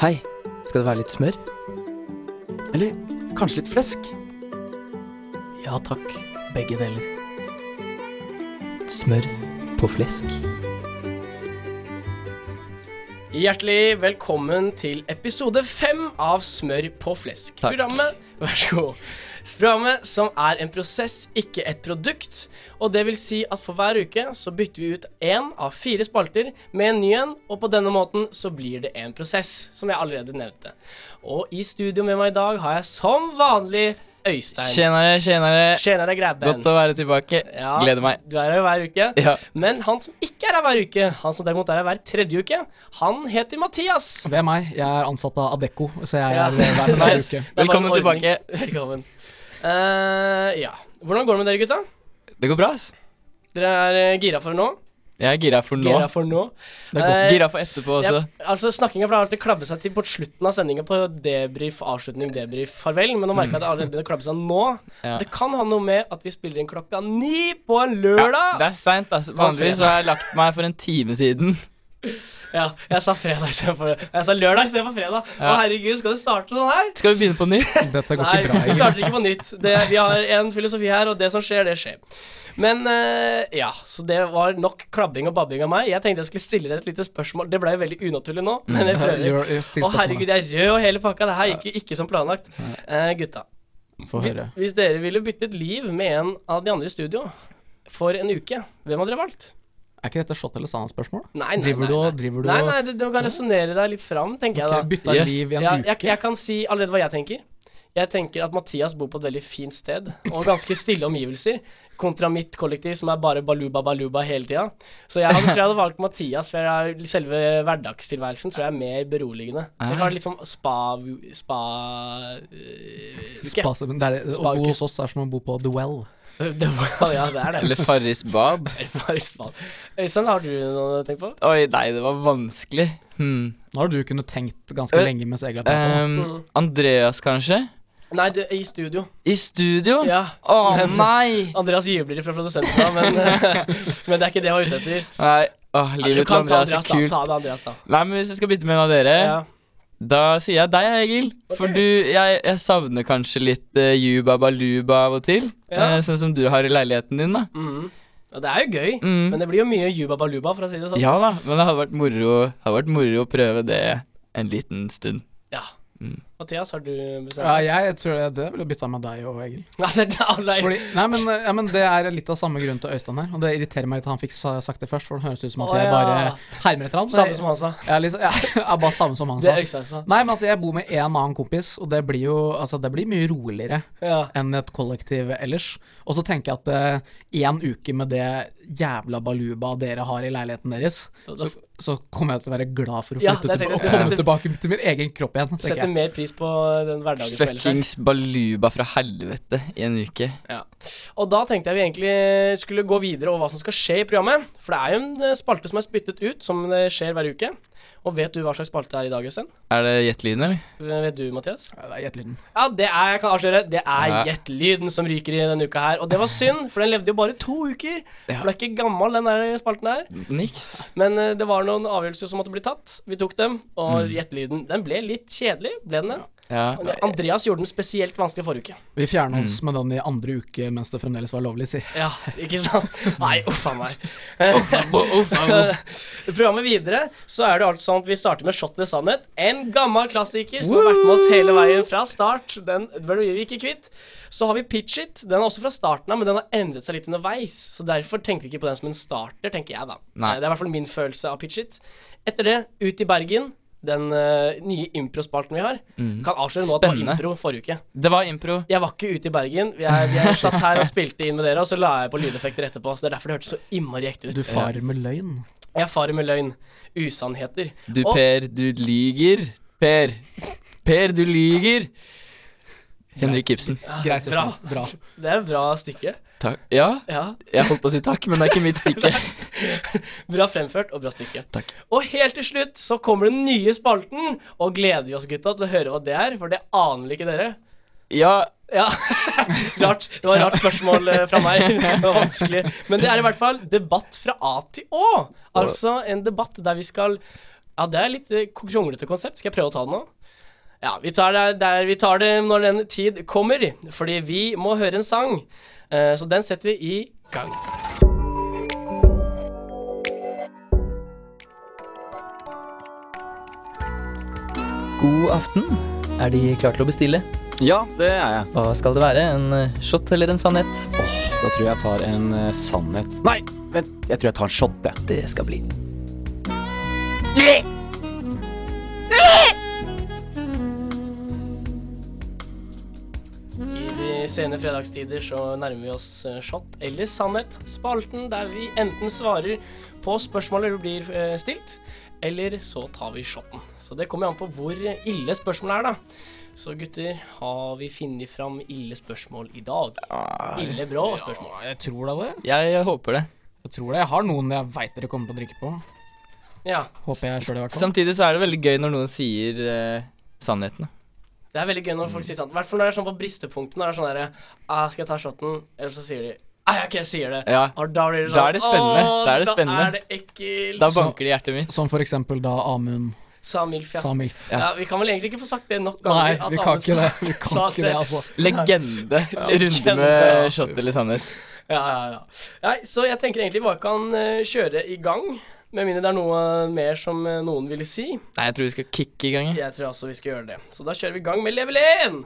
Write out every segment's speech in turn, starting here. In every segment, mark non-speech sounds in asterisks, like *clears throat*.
Hei, skal det være litt smør? Eller kanskje litt flesk? Ja takk, begge deler. Smør på flesk. Hjertelig velkommen til episode fem av Smør på flesk. Takk. Programmet vær så god, programmet som er en prosess, ikke et produkt. Og det vil si at for hver uke så bytter vi ut én av fire spalter med en ny en, og på denne måten så blir det en prosess, som jeg allerede nevnte. Og i studio med meg i dag har jeg som vanlig Øystein. Tjenere, tjenere. Tjener deg grabben. Godt å være tilbake. Ja. Gleder meg. Du er her hver uke. Ja. Men han som ikke er her hver uke, han som derimot er her hver tredje uke, han heter Mathias. Det er meg. Jeg er ansatt av Adecco, så jeg Ja. er eh, hver hver Nice. uke. Det er bare en Velkommen ordning. *laughs* tilbake. Velkommen. Eh, ja. Hvordan går det med dere, gutta? Det går bra, ass. Dere er eh, gira for nå? Jeg er gira for nå. Gira for nå? Det går. Eh, Gira for etterpå også. ja, altså, Snakkinga pleier alltid å klabbe seg til på slutten av sendinga på debrief, avslutning, debrief, farvel. Men nå merker jeg at det allerede begynner å klabbe seg nå. Ja. Det kan ha noe med at vi spiller inn klokka ni på en lørdag. Det er seint, ass. Vanligvis har jeg lagt meg for en time siden. Ja, jeg sa fredag istedenfor Jeg sa lørdag istedenfor fredag. Å, Ja. herregud, skal det starte sånn her? Skal vi begynne på nytt? Dette går Nei, ikke bra. vi Egil. starter ikke på nytt. Det, vi har en filosofi her, og det som skjer, det skjer. Men eh, ja, så det var nok klabbing og babbing av meg. Jeg tenkte jeg skulle stille dere et lite spørsmål. Det ble jo veldig unaturlig nå, men *laughs* jeg prøver. Gjør- gjør- Still Å herregud, spørsmålet. jeg er rød og hele pakka. Det her gikk jo ikke som planlagt. Eh, gutta, Få hvis, høre. hvis dere ville byttet liv med en av de andre i studio for en uke, hvem hadde dere valgt? Er ikke dette shot eller sana-spørsmål? Nei, nei, nei. Driver du nei. og driver du Nei, og nei, du, du kan resonnere deg litt fram, tenker Ok, jeg da. Bytta Yes. liv i en Ja, uke? jeg, jeg kan si allerede hva jeg tenker. Jeg tenker at Mathias bor på et veldig fint sted og ganske stille omgivelser. Kontra mitt kollektiv, som er bare baluba baluba hele tida. Så jeg hadde, tror jeg hadde valgt Mathias, for jeg er, selve hverdagstilværelsen tror jeg er mer beroligende. Jeg har litt sånn spa... spa... øh, uke. Spas- men det er, det- å Spake. bo hos oss er som å bo på The Well. *laughs* Det var, ja, det er det. Eller Farris Bab? Bare spa. Øystein, har du noe du tenker på? Oi, nei, det var vanskelig. Hmm. Nå har du kunnet tenkt ganske Øh, lenge mens Egil har pratet. Mm. Ehm, Andreas, kanskje? Nei, du, i studio. I studio? Ja. Å *laughs* nei! Andreas jubler fra produsenten, men, *laughs* men det er ikke det jeg var ute etter. Nei, åh, Du Livet til kan ta Andreas er da. kult. Ta det, Andreas, da. Nei, men Hvis jeg skal bytte med en av dere, Ja. da sier jeg deg, Egil. For du, jeg, jeg savner kanskje litt uh, Juba Baluba av og til. Ja. eh, sånn som du har i leiligheten din, da. Mhm. Og det er jo gøy, Mm. men det blir jo mye juba baluba, for å si det sånn. Ja da, men det hadde vært moro, hadde vært moro å prøve det en liten stund. Mathias, har du bestemt Ja, deg? jeg tror jeg- det ville bytta med deg og Egil. *laughs* Nei, det er alle Fordi, nei, men, eh, ja, men Det er litt av samme grunn til Øystein her. Og det irriterer meg litt at han fikk sa- sagt det først, for det høres ut som at Å, jeg ja. bare hermer etter han. Samme som han sa. Jeg er litt, ja, *laughs* jeg er bare samme som han Det sa. er Øystein sa. Nei, men altså, jeg bor med en annen kompis, og det blir jo altså, det blir mye roligere Ja. enn et kollektiv ellers. Og så tenker jeg at én uke med det jævla baluba dere har i leiligheten deres, så, så kommer jeg til å være glad for å Ja, flytte det til, tenkte og jeg. komme tilbake til min egen kropp igjen. tenker Setter jeg. mer pris på eh, den hverdagen som ellers er. Fuckings Baluba fra helvete i en uke. Ja. Og da tenkte jeg vi egentlig skulle gå videre over hva som skal skje i programmet. For det er jo en eh, spalte som er spyttet ut, som det skjer hver uke. Og vet du hva slags spalte det er i dag, Øystein? Er det gjettelyden, eller? Vet du, Mathias? Ja, det er Gjett lyden. Ja, det er, jeg kan avsløre, det er Ja. Gjett-lyden som ryker i denne uka her. Og det var synd, for den levde jo bare to uker. Ja. Mm. For det er ikke gammel, den der spalten her. Niks. Men eh, det var noen avgjørelser som måtte bli tatt. Vi tok dem, og gjettelyden Den ble litt kjedelig, ble den det? Mm. Ja. Men Andreas gjorde den spesielt vanskelig forrige uke. Vi fjerna oss med den i andre uke mens det fremdeles var lovlig, si. Ja, ikke sant? *laughs* Nei, uff a meg. Uff, *laughs* Programmet videre, så er det altså sånn at vi starter med Shot eller sannhet. En gammel klassiker som har vært med oss hele veien fra start. Den ble vi ikke kvitt. Så har vi Pitch It. Den er også fra starten av, men den har endret seg litt underveis. Så derfor tenker vi ikke på den som en starter, tenker jeg, da. Nei. Det er i hvert fall min følelse av Pitch It. Etter det, Ut i Bergen. Den eh, nye impro-spalten vi har. Kan avsløre nå at det var Spennende. impro forrige uke. Det var impro. Jeg var ikke ute i Bergen. Jeg, jeg satt her og spilte inn med dere, og så la jeg på lydeffekter etterpå. Så Det er derfor det hørtes så innmari ekte ut. Du farer med løgn. Jeg farer med løgn. Usannheter. Du, Og- Per, du lyger. Per. Per, du lyger. Henrik Ibsen. Greit, bra. Øystein. Bra. Det er et bra stykke. Takk. Ja, Ja. jeg holdt på å si takk, men det er ikke mitt stykke. Bra fremført og bra stykke. Takk. Og helt til slutt så kommer den nye spalten, og gleder vi oss, gutta, til å høre hva det er, for det aner vel ikke dere. Ja, Ja, *laughs* rart. Det var et rart spørsmål eh, fra meg. Det var vanskelig. Men det er i hvert fall debatt fra A til Å. Altså en debatt der vi skal Ja, det er litt eh, kronglete konsept. Skal jeg prøve å ta det nå? Ja, vi tar det, der, vi tar det når den tid kommer, fordi vi må høre en sang. Eh, Så den setter vi i gang. God aften. Er De klar til å bestille? Ja, det er jeg. Hva skal det være? En eh, shot eller en sannhet? Da tror jeg jeg tar en eh, sannhet Nei, vent. Jeg tror jeg tar en shot, jeg. Det skal bli. I de sene fredagstider så nærmer vi oss eh, Shot eller sannhet, spalten der vi enten svarer på spørsmålet vi blir eh, stilt, eller så tar vi shotten. Så det kommer an på hvor ille spørsmålet er, da. Så gutter, har vi funnet fram ille spørsmål i dag? Ille bra spørsmål. Jeg tror da det. Jeg, jeg håper det. Jeg tror det. Jeg har noen jeg veit dere kommer til å drikke på. Ja, Håper jeg sjøl, i hvert fall. Samtidig så er det veldig gøy når noen sier eh, sannheten. da. det er veldig gøy når folk sier sånn. I hvert fall når det er sånn på bristepunktene. Er det sånn derre «Ah, Skal jeg ta shotten? Eller så sier de Nei, jeg ikke jeg sier det. Ja. Og da blir det sånn Da er det spennende. «Åh, Da er det Da spennende.» er det ekkelt. Da banker det i hjertet *laughs* mitt. Som for eksempel da Amund Samilf, ja. sa Milf. Ja. Ja, Vi kan vel egentlig ikke få sagt det nok Nei, ganger. at vi alle kan sa- ikke det. Vi kan sa ikke det, altså. *laughs* Legende. Runde Legende. med shot eller sannhet. Ja, ja, ja. Nei, så jeg tenker egentlig bare kan eh, kjøre i gang. Med mindre det er noe mer som eh, noen ville si. Nei, jeg tror vi skal kicke i gang. jeg. Jeg tror også vi skal gjøre det. Så da kjører vi i gang med level 1.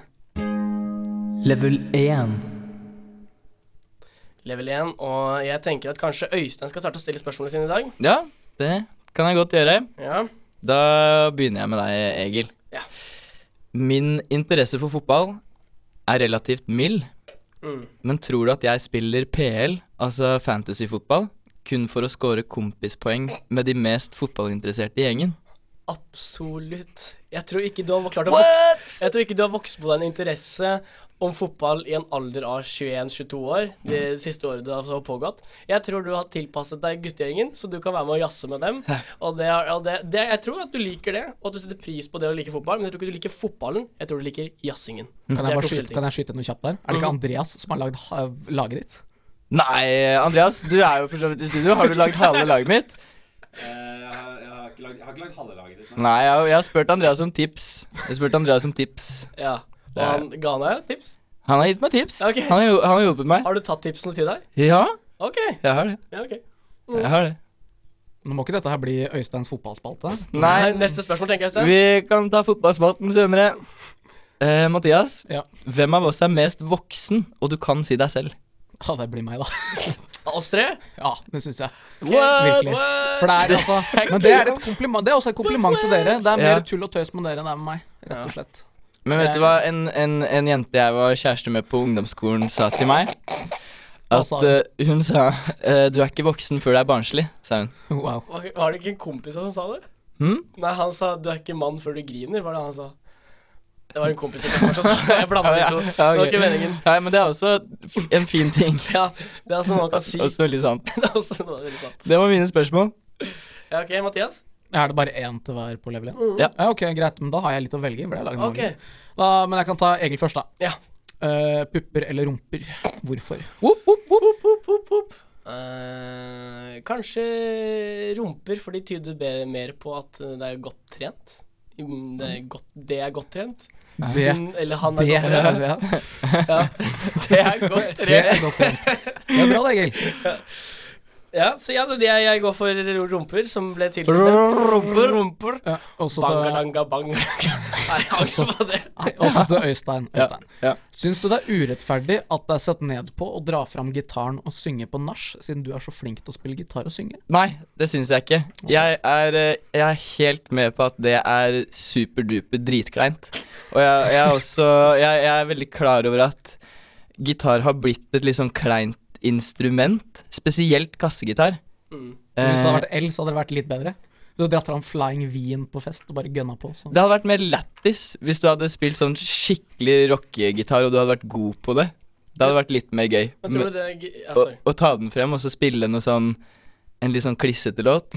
Level 1. Level 1, og jeg tenker at kanskje Øystein skal starte å stille spørsmålene sine i dag. Ja, det kan jeg godt gjøre. Ja. Da begynner jeg med deg, Egil. Ja. Min interesse for fotball er relativt mild, Mm. men tror du at jeg spiller PL, altså fantasyfotball, kun for å score kompispoeng med de mest fotballinteresserte i gjengen? Absolutt. Jeg tror ikke du har klart å vokse Jeg tror ikke du har vokst på deg en interesse om fotball i en alder av 21-22 år. Det Mm. siste året du har så pågått. Jeg tror du har tilpasset deg guttegjengen, så du kan være med og jazze med dem. Og det, er- og det, det, jeg tror at du liker det, og at du setter pris på det å like fotball, men jeg tror ikke du liker fotballen. Jeg tror du liker jazzingen. Kan Det er jeg, bare to skyte, forskjellige kan jeg skyte noe kjapt der? Er det ikke Andreas som har lagd ha- laget ditt? Nei, Andreas, du er jo for så vidt i studio. Har du lagd halve laget mitt? Eh, Jeg har, ikke lagd, halve laget ditt. Nei, jeg, jeg har spurt Andreas om tips. Jeg har spurt Andreas om tips. Ja. Og han ga deg et tips. Han har gitt meg tips. Ok. Han, har, jo- han har hjulpet meg. Har du tatt tipsene til deg? Ja, OK. jeg har det. Ja, ok. Jeg har det. Nå må ikke dette her bli Øysteins fotballspalte. Nei, Nei, Neste spørsmål, tenker jeg. Øystein. Vi kan ta fotballspalten senere. Eh, Mathias, Ja. hvem av oss er mest voksen, og du kan si deg selv? Ja, det blir meg, da. *laughs* Av Oss tre? Ja, det syns jeg. What? Virkelig. For det er *laughs* altså Men det er, et kompliment, det er også et kompliment til dere. Det er Ja. mer tull og tøys med dere enn det er med meg, rett og slett. Men vet du hva en, en, en jente jeg var kjæreste med på ungdomsskolen, sa til meg? At sa hun? eh, hun sa eh, 'Du er ikke voksen før du er barnslig', sa hun. Wow. Var, var det ikke en kompis som sa det? Hm? Nei, han sa 'du er ikke mann før du griner', var det han sa. Det var en kompis i klassen som sa det. Jeg blanda de to. Ja, Det var ok. ikke meningen. Nei, men det er også en fin ting. *laughs* Ja, det er altså noe man *laughs* kan si. *laughs* Det Også veldig sant. er også noe veldig sant. Det var mine spørsmål. Ja, OK, Mathias. Er det bare én til hver på level 1? Mm. Ja. Ja, ok, greit, men da har jeg litt å velge. i, For jeg lager OK. mange. da, men jeg kan ta Egil først, da. Ja. Eh, pupper eller rumper? Hvorfor? Whoop, whoop, whoop, whoop, whoop, whoop. Eh, kanskje rumper, for de tyder be- mer på at eh, det er godt trent. Mm, Det er godt, det er godt trent. Det, Hun, eller han det, Mm, er godt trent. *laughs* ja, Ja. *laughs* Det er godt det trent. er godt trent. Det er bra, det, Egil. Ja, så ja, så det, jeg går for rumper, som ble tilknyttet. Rumper, rumper. Ja, Eh, også, til, Bangalanga, bangalanga. *laughs* Nei, jeg har ikke på det. også til Øystein. Ja, Øystein. ja. Syns du det er urettferdig at det er sett ned på å dra fram gitaren og synge på nach, siden du er så flink til å spille gitar og synge? Nei, det syns jeg ikke. Jeg er, eh, jeg er helt med på at det er superduper dritkleint. Og jeg, jeg er også jeg, jeg er veldig klar over at gitar har blitt et litt sånn kleint instrument. Spesielt kassegitar. Mm. Hvis det hadde Eh, vært L, så hadde det vært litt bedre. Du hadde dratt fram Flying Wien på fest og bare gønna på. Så. det hadde vært mer lættis hvis du hadde spilt sånn skikkelig rockegitar og du hadde vært god på det. Det hadde vært litt mer gøy. Men tror du det er gi- ja, å, sorry. å ta den frem og så spille noe sånn en litt sånn klissete *laughs* låt,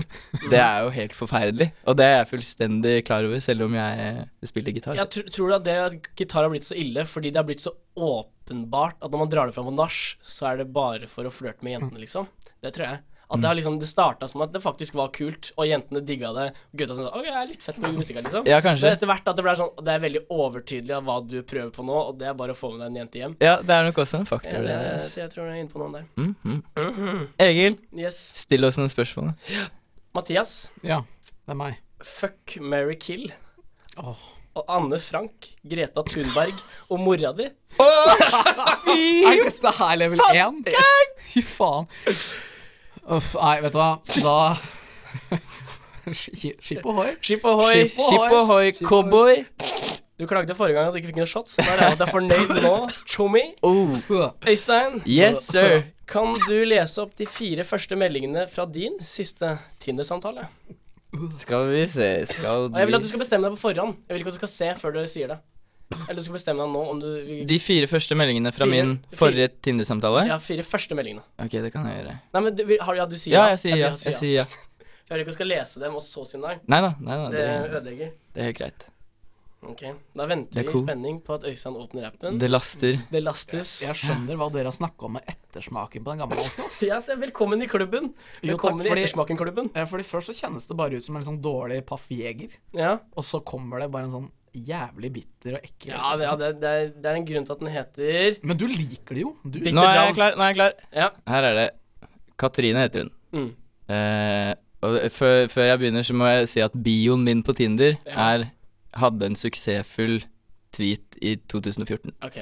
det er jo helt forferdelig. Og det er jeg fullstendig klar over, selv om jeg eh, spiller gitar. Jeg tr tror du at det at gitar har blitt så ille fordi det har blitt så åpenbart at når man drar det fram på nach, så er det bare for å flørte med jentene, liksom. Det tror jeg. At Mm. det, har liksom, det starta som at det faktisk var kult, og jentene digga det. Og gutta sa OK, det er litt fett med musikk, her», liksom. Ja, Men kanskje. etter hvert at det ble sånn Det er veldig overtydelig av hva du prøver på nå, og det er bare å få med deg en jente hjem. Ja, det er nok også en faktor. Ja, Det det, der, ass. så jeg tror jeg er inne på noen der. Mm, mm. Egil, Yes. still oss noen spørsmål. da. Mathias. Ja, det er meg. Fuck, marry, kill. Åh. Og Anne Frank, Greta Thunberg og mora di. Er dette her level 1? Fy faen. Uff, nei, vet du hva. Da Ski- Skip ohoi. Skip ohoi! Skip Skip ohoi, cowboy. Du klagde forrige gang at du ikke fikk noen shots. Da er jeg at jeg er fornøyd nå. Chummy. Oh. Øystein, *laughs* Yes, sir. kan du lese opp de fire første meldingene fra din siste Tinder-samtale? Skal vi se Skal Og jeg vil at du vi skal bestemme deg på forhånd. Jeg vil ikke at du skal se før du sier det. Eller du skal bestemme deg nå om du vil De fire første meldingene fra Fire- min fire- forrige Tinder-samtale? Ja, fire første meldingene. Ok, det kan jeg gjøre. Nei, men du, vil- har, ja, du sier Ja, jeg sier du ja. har- Jeg sier ja. Jeg vil ikke at du skal lese dem og så si nei. Nei da, nei da. Det Det, ødelegger. det er helt greit. Ok, Da venter Det er vi i cool. spenning på at Øystein åpner appen. Det laster. Det lastes. Jeg skjønner hva dere har snakka om med ettersmaken på den gamle dansken. ass. Ja, så velkommen i klubben. Jo, takk, Velkommen i fordi- Ettersmaken-klubben. Eh, Fordi Først så kjennes det bare ut som en sånn dårlig paff jeger, Ja, og så kommer det bare en sånn jævlig bitter og ekkel ja, det, ja det, det, er, det er en grunn til at den heter Men du liker det jo. Du, Bitter Nå er Jam. jeg klar. Nå er jeg klar. Ja. Her er det. Katrine heter hun. Mm. Eh, og før, før jeg begynner, så må jeg si at bioen min på Tinder Ja. er hadde en suksessfull tweet i 2014. Ok.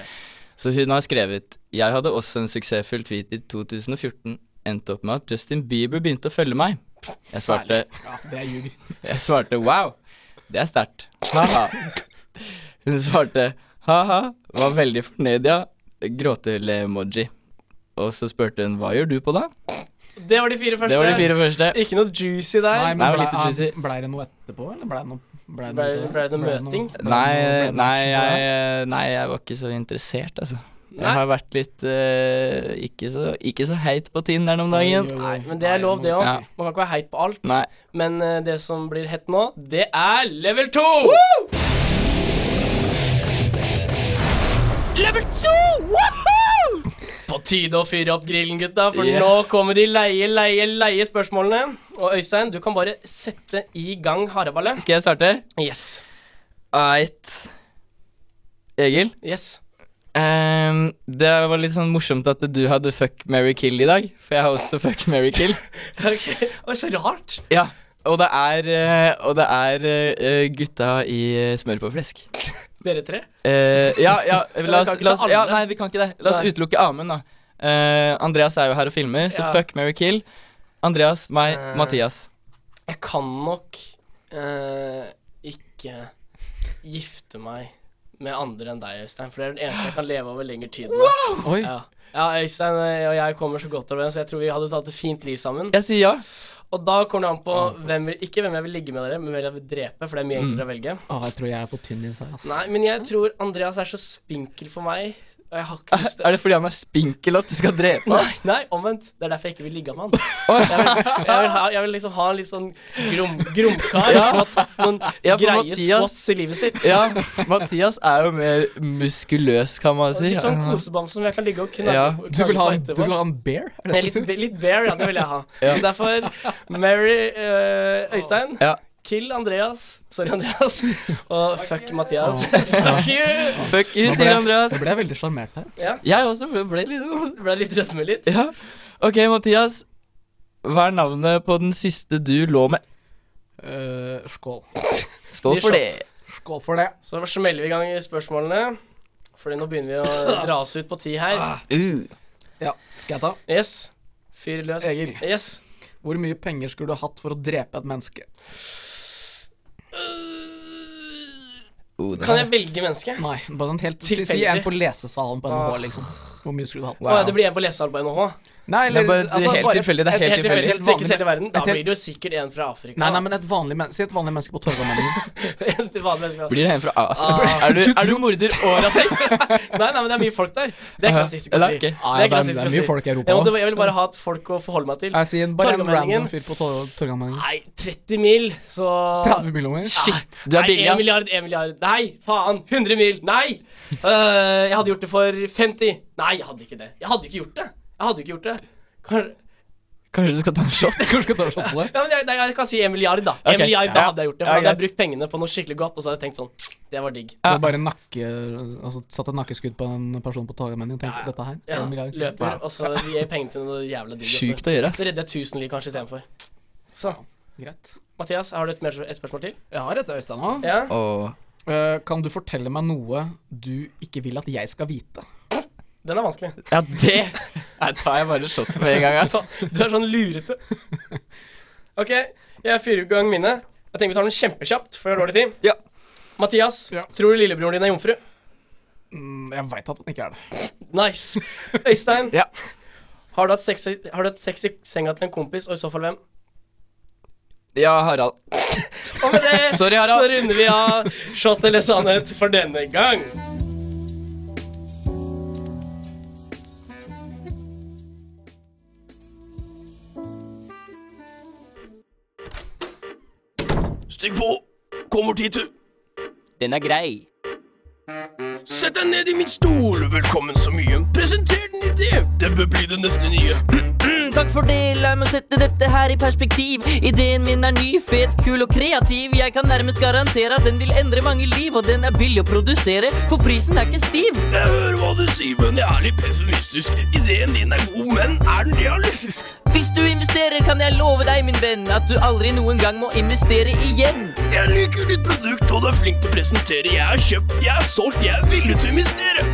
Så hun har skrevet Jeg hadde også en suksessfull tweet i 2014. Endte opp med at Justin Bieber begynte å følge meg. Jeg svarte, ja, det er ljug. jeg svarte wow, det er sterkt. Ha-ha. Hun svarte ha-ha, var veldig fornøyd, ja. Gråtele-emoji. Og så spurte hun hva gjør du på da? Det var de fire første. Det var de fire første. Ikke noe juicy der. Nei, Nei, men det var blei litt juicy. ble det noe etterpå, eller blei det noe Blei Ble- noe til ble det Ble møting? noe- ble det noe- ble Nei, det noe nei, action på det? jeg, nei, jeg var ikke så interessert, altså. Jeg Nei. har vært litt eh, ikke, så, ikke så heit på Tinderen om Oi, dagen. oi, oi. Nei, men det er lov, må det du òg. ikke Ja. si. Man kan ikke være heit på alt. Nei. Men eh, det som blir hett nå, det er level 2! Level 2! På tide å fyre opp grillen, gutta, for Yeah. nå kommer de leie, leie, leie spørsmålene. Og Øystein, du kan bare sette i gang hareballet. Skal jeg starte? Yes. Eit. Egil, yes. ehm, det var litt sånn morsomt at du hadde fuck, marry, kill i dag. For jeg har også fuck, marry, kill. Ok, Oi, Så rart. Ja, Og det er, eh, og det er eh, gutta i eh, smør på flesk. Dere tre. Eh, ja, *laughs* ja, la vi kan oss, ikke la oss ta alle. ja, Nei, vi kan ikke det. La oss Nei. utelukke Amund, da. Eh, Andreas er jo her og filmer, så Ja. fuck Mary Kill. Andreas, meg, Eh. Mathias. Jeg kan nok eh, ikke gifte meg med andre enn deg, Øystein. For det er den eneste jeg kan leve over lengre tid med. Oi. Ja. *laughs* ja, Øystein eh, og jeg kommer så godt overens, så jeg tror vi hadde tatt et fint liv sammen. Jeg sier ja. Og da kommer det an på hvem vil, ikke hvem jeg vil ligge med dere, men hvem jeg vil drepe, for det er mye enklere å velge. Å, jeg tror jeg er på tynn is her, ass. Nei, men jeg tror Andreas er så spinkel for meg, og jeg har ikke lyst til Er det fordi han er spinkel at du skal drepe ham? *laughs* Nei, nei, omvendt. Det er derfor jeg ikke vil ligge med han. Jeg vil, jeg vil, ha, jeg vil liksom ha en litt sånn grom, gromkar som har tatt noen Ja, for greie Mathias- squats i livet sitt. Ja, Mathias er jo mer muskuløs, kan man si. Litt sånn kosebamse som jeg kan ligge og knalle Ja, knalle Du vil ha, på du etterpå. vil ha en bear? Nei, Er det litt, det du sier? litt bear, ja, det vil jeg ha. Ja. Derfor Mary eh, Øystein. Ja. Kill Andreas. Sorry, Andreas. *laughs* Og fuck Mathias. *laughs* fuck you! Fuck you, Nå sier ble jeg- Andreas. Nå ble jeg veldig sjarmert her. Jeg også ble- ble litt sånn Ble litt rødme litt. Ja. OK, Mathias. Hva er navnet på den siste du lå med? Eh, skål. Skål for det. Skål for det. Så smeller vi i gang i spørsmålene. Fordi nå begynner vi *laughs* å dra oss ut på ti her. Uh. Skal jeg ta? Yes. Fyr løs. Egil. Yes. Hvor mye penger skulle du hatt for å drepe et menneske? Oh, det Kan er- jeg velge menneske? Nei, bare sånn helt si- Si Tilfeldig. en på lesesalen på Ah. NHH, liksom. Hvor mye skulle du hatt? Å ja, det blir en på lesesal på NHH. Nei, altså, Det er bare det er helt bare- tilfeldig. Det er helt Helt tilfeldig. tilfeldig. Helt Ikke vanlig- selv i verden. Da et helt- blir det jo sikkert en fra Afrika. Nei, *laughs* nei, men et vanlig menneske Si et vanlig menneske på *laughs* Torgallmenningen. Et vanlig menneske. *laughs* Blir det en fra Ah. Er, du, er du morder og rasist? Nei, nei, men det er mye folk der. Det er klassisk å Eller, si. ok. Det er Ah, ja, det, er- klassisk det å er si. mye folk i Jeg, måtte, Europa. jeg vil bare ha et folk å forholde meg til. Jeg sier bare en Torgallmenningen. random fyr på Tor- Torgallmenningen. Nei, 30 mil, så 30 millioner? Shit, du er Nei, 1 billig, ass. milliard, 1 milliard. Nei, faen! 100 mil. Nei! Øh, jeg hadde gjort det for 50. Nei, jeg hadde ikke det. Jeg hadde ikke gjort det. Jeg hadde ikke gjort det. Kanskje Kanskje du skal ta en *laughs* shot? Kanskje *laughs* skal ta en shot på det? Ja, men jeg, nei, jeg kan si en milliard, da. Ok, En milliard, da ja. hadde jeg gjort det. For da Ja, hadde jeg greit. brukt pengene på noe skikkelig godt, og så hadde jeg tenkt sånn Det var digg. Du har bare nakke, altså, satt et nakkeskudd på en person på toget, men jeg tenkte dette her Ja, er en milliard. løper, og så gir jeg pengene til noe jævla digg. og Sjukt å Så så gjøre, ass. redder jeg tusen liv kanskje istedenfor. Så Greit. Mathias, har du et, mer, et spørsmål til? Jeg har et Øystein nå. Ja? Og Eh, kan du fortelle meg noe du ikke vil at jeg skal vite? Den er vanskelig. Ja, det *laughs* Nei, tar jeg bare shoten med en gang, ass. *laughs* Du er sånn *laughs* lurete. OK, jeg fyrer i gang mine. Jeg tenker vi tar den kjempekjapt før jeg har dårlig tid. Ja. Mathias, Ja. tror du lillebroren din er jomfru? Mm, jeg veit at han ikke er det. Nice. Øystein, *laughs* Ja. har, du hatt sex, i- har du hatt sex i senga til en kompis, og i så fall hvem? Ja, Harald. Og med det *laughs* Sorry, Harald. så runder vi av Shot eller sannhet for denne gang. Stikk på! Kommer Titu. Den er grei. Sett deg ned i min stol. Velkommen så mye. Presenter din idé. Det bør bli det neste nye. Takk for det, la meg sette dette her i perspektiv. Ideen min er ny, fet, kul og kreativ. Jeg kan nærmest garantere at den vil endre mange liv, og den er billig å produsere, for prisen er ikke stiv. Jeg hører hva du sier, men jeg er litt pessimistisk. Ideen din er god, men er den realistisk? Hvis du investerer, kan jeg love deg, min venn, at du aldri noen gang må investere igjen. Jeg liker ditt produkt, og du er flink til å presentere. Jeg har kjøpt, jeg har solgt, jeg er villig til å investere.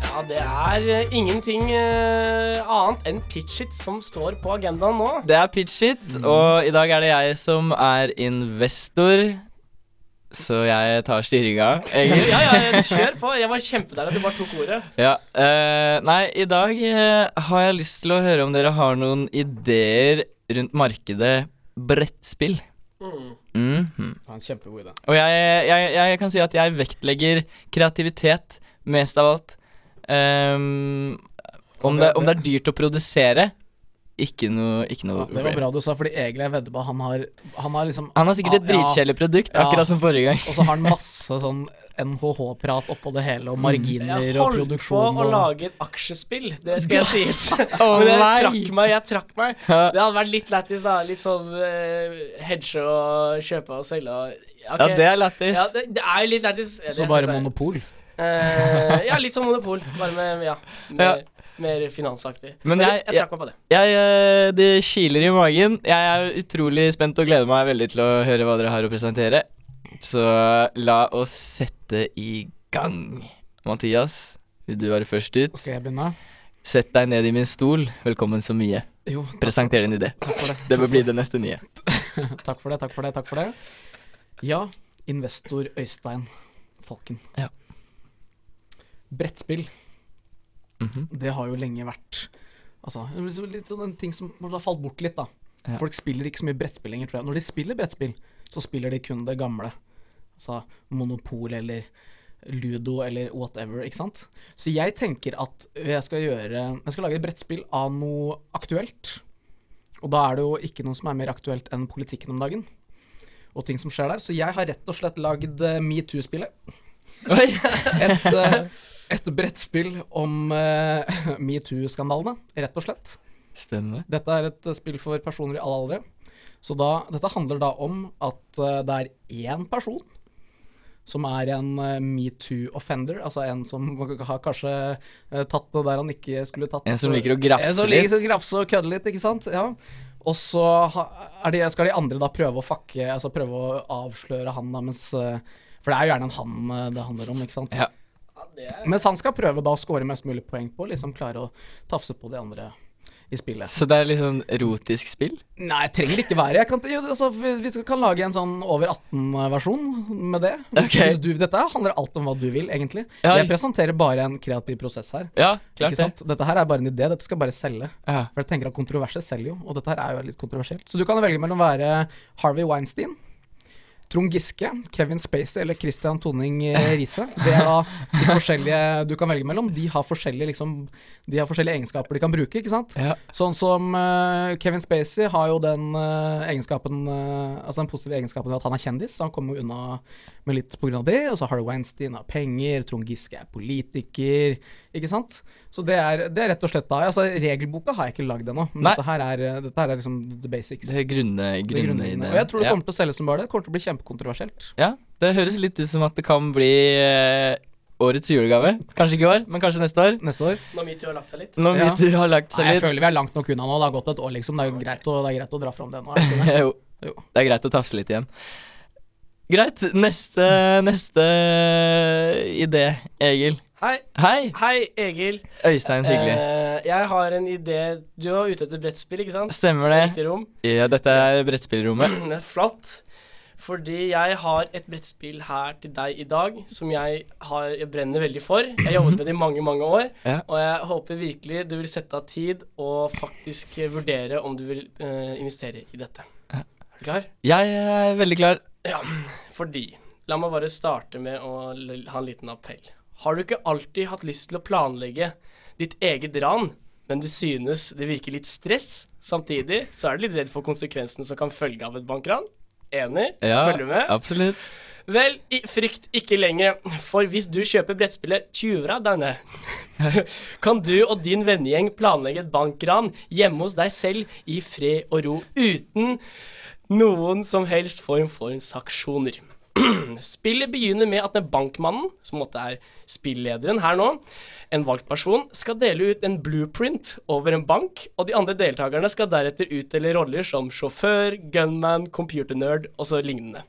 Ja, det er eh, ingenting eh, annet enn pitch it som står på agendaen nå. Det er pitch it, og i dag er det jeg som er investor. Så jeg tar styringa, egentlig. Ja, ja, ja, kjør på. Jeg var kjempedeilig at du bare tok ordet. Ja, eh, nei, i dag eh, har jeg lyst til å høre om dere har noen ideer rundt markedet brettspill. Mhm. Det var en kjempegod idé. Og jeg, jeg, jeg kan si at jeg vektlegger kreativitet mest av alt. Ehm, om, det, om det er dyrt å produsere, ikke noe, ikke Ja, noe det var bra du sa, fordi egentlig jeg vedder på at han har Han har liksom Han har sikkert et Ja, ja. dritkjedelig produkt, Ja. akkurat som forrige gang. Og så har han masse sånn NHH-prat oppå det hele, og Jeg marginer og holdt på produksjon å og lage et aksjespill, det skal jeg sies. *laughs* Å *laughs* Men jeg nei. trakk meg, jeg trakk meg. Ja. Det hadde vært litt lættis, da. Litt sånn eh, hedge og kjøpe og selge og Ja, det er lættis. ja, det, det er jo litt lættis. Ja, det Så synes bare jeg. monopol. Eh, ja, *laughs* litt som Monopol, bare med Ja. Mer, mer finansaktig. Men jeg- jeg, jeg trakk meg på det. Jeg, eh, det kiler i magen. Jeg er utrolig spent og gleder meg veldig til å høre hva dere har å presentere. Så la oss sette i gang. Mathias, vil du være først ut? Skal jeg begynne? Sett deg ned i min stol. Velkommen så mye. Jo, Presenter din idé. takk for det. Det bør bli det neste nye. Takk for det, takk for det, takk for det. Ja, investor Øystein Falken. Ja. Brettspill, Mhm. det har jo lenge vært Altså, liksom litt sånn en ting som har falt bort litt, da. Ja. Folk spiller ikke så mye brettspill lenger, tror jeg. Når de spiller brettspill, så spiller de kun det gamle. Altså Monopol eller Ludo eller whatever, ikke sant. Så jeg tenker at jeg skal gjøre Jeg skal lage et brettspill av noe aktuelt. Og da er det jo ikke noe som er mer aktuelt enn politikken om dagen. Og ting som skjer der. Så jeg har rett og slett lagd eh, metoo-spillet Oi. et, eh, et brettspill om eh, metoo-skandalene, rett og slett. Spennende. Dette er et eh, spill for personer i alle aldre. Så da, dette handler da om at eh, det er én person som er en eh, metoo-offender, altså en som *laughs* har kanskje eh, tatt det der han ikke skulle tatt. En som liker Altså, å en som grafse litt. liker å grafse og kødde litt, ikke sant? Ja. Og så ha- er de, skal de andre da prøve å fucke, altså prøve å avsløre han da, mens eh, For det er jo gjerne en han eh, det handler om, ikke sant? Ja. Mens han skal prøve da å score mest mulig poeng på, liksom klare å tafse på de andre i spillet. Så det er litt sånn erotisk spill? Nei, trenger ikke være. Jeg kan, jo, altså, vi, vi kan lage en sånn over 18-versjon med det. Hvis, Ok. hvis du, dette handler alt om hva du vil, egentlig. Ja. Jeg presenterer bare en kreativ prosess her. Ja, klart Ikke det. sant? Dette her er bare en idé, dette skal bare selge. Ja. For jeg tenker at kontroverser selger jo, og dette her er jo litt kontroversielt. Så du kan velge mellom å være Harvey Weinstein Trond Giske, Kevin Spacey eller Christian Toning *laughs* eh, Riise. Det er da de forskjellige du kan velge mellom. De har forskjellige, liksom, de har forskjellige egenskaper de kan bruke, ikke sant? Ja. Sånn som eh, Kevin Spacey har jo den eh, egenskapen eh, Altså den positive egenskapen ved at han er kjendis, så han kommer jo unna med litt pga. det. Og så Harry Weinstein har penger, Trond Giske er politiker, ikke sant? Så det er, det er rett og slett da Altså, regelboka har jeg ikke lagd ennå, men Nei. dette her, er, eh, dette her er liksom the basics. Det er grunne, Det er grunne grunnleggende. ideer. Og jeg tror det ja. kommer til å selges som bare det. Det Kommer til å bli kjempekontroversielt. ja, det høres litt ut som at det kan bli eh, årets julegave. Kanskje ikke i år, men kanskje neste år. Neste år? Når metoo har lagt seg litt. Når Ja. metoo har lagt Nei, seg jeg litt. føler vi er langt nok unna nå. Det har gått et år, liksom. Det er jo greit å, det er greit å dra fram det nå. er det ikke det? Jo. Jo. Det er greit å tafse litt igjen. Greit. Neste, neste eh, idé, Egil. Hei, Hei! hei, Egil. Øystein, hyggelig. Eh, jeg har en idé. Du var ute etter brettspill, ikke sant? Stemmer det? Riktig rom. Ja, dette er brettspillrommet. *clears throat* Det er flott. Fordi jeg har et brettspill her til deg i dag som jeg, har, jeg brenner veldig for. Jeg har jobbet med det i mange, mange år, *clears throat* Ja. og jeg håper virkelig du vil sette av tid og faktisk eh, vurdere om du vil eh, investere i dette. Ja. Er du klar? Jeg er veldig klar. Fordi La meg bare starte med å l- ha en liten appell. Har du ikke alltid hatt lyst til å planlegge ditt eget ran, men du synes det virker litt stress? Samtidig så er du litt redd for konsekvensene som kan følge av et bankran. Enig? Ja, Følger du med? absolutt. Vel, i frykt ikke lenger, for hvis du kjøper brettspillet Tjura denne, *laughs* kan du og din vennegjeng planlegge et bankran hjemme hos deg selv i fred og ro, uten noen som helst form for sanksjoner. Spillet begynner med at den bankmannen, som måtte er spilllederen her nå, en valgt person, skal dele ut en blueprint over en bank, og de andre deltakerne skal deretter utdele roller som sjåfør, gunman, computernerd og så lignende.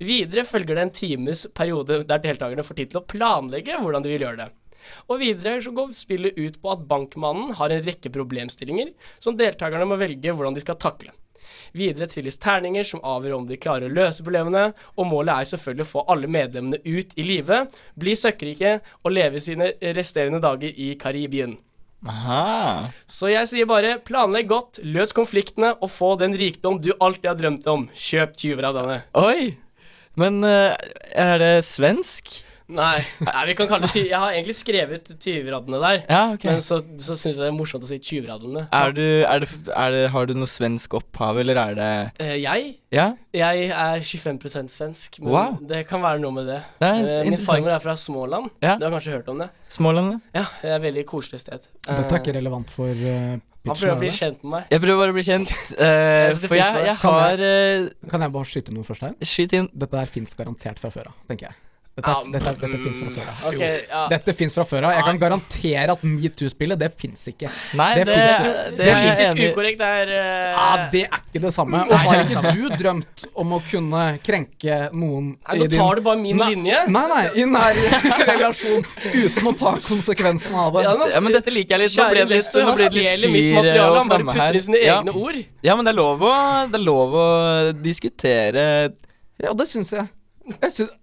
Videre følger det en times periode der deltakerne får tid til å planlegge hvordan de vil gjøre det. Og videre så går spillet ut på at bankmannen har en rekke problemstillinger som deltakerne må velge hvordan de skal takle. Videre trilles terninger som avgjør om de klarer å løse problemene, og målet er selvfølgelig å få alle medlemmene ut i live, bli søkkrike og leve sine resterende dager i Karibien. Aha. Så jeg sier bare planlegg godt, løs konfliktene og få den rikdom du alltid har drømt om. Kjøp tyver av denne. Oi! Men eh, er det svensk? Nei, nei vi kan kalle det ty Jeg har egentlig skrevet tyveradene der, Ja, ok. men så, så syns jeg det er morsomt å si tyveradene. Er du, er det, er det, har du noe svensk opphav, eller er det Eh, jeg Ja, jeg er 25 svensk, men Wow. det kan være noe med det. det er Eh, Min interessant. farmor er fra Småland. Ja. Du har kanskje hørt om det? Småland, Ja, ja. det er et veldig koselig sted. Eh, *laughs* Dette er ikke relevant for eh, han prøver å bli pitchen. kjent med meg. Jeg prøver bare å bli kjent, eh, *laughs* Jeg synes det for jeg, finnes jeg noe. har eh, er Kan jeg bare skyte noe først her? Skyt inn. Dette der fins garantert fra før av, tenker jeg. Dette, er- Ja, dette, er- dette fins fra før av. Ok, ja. Dette fins fra før av. Jeg kan garantere at metoo-spillet, det fins ikke. Nei, Det det, det, finnes jo. Det er jeg Politisk enig i. ukorrekt er eh, Ja, Ah, det er ikke det samme. Og har ikke du drømt om å kunne krenke noen Nei, nå tar du bare min Nei, linje. Nei, nei, i nær *laughs* relasjon uten å ta konsekvensen av det. Ja, nå- Ja, men dette liker jeg litt. Nå ble det litt, nå han ble det stjeler litt mitt fyr eh, materiale. og Han bare flamme putter her. i sine Ja. egne ord. ja, men det er lov å, det er lov å diskutere Ja, det syns jeg. jeg syns,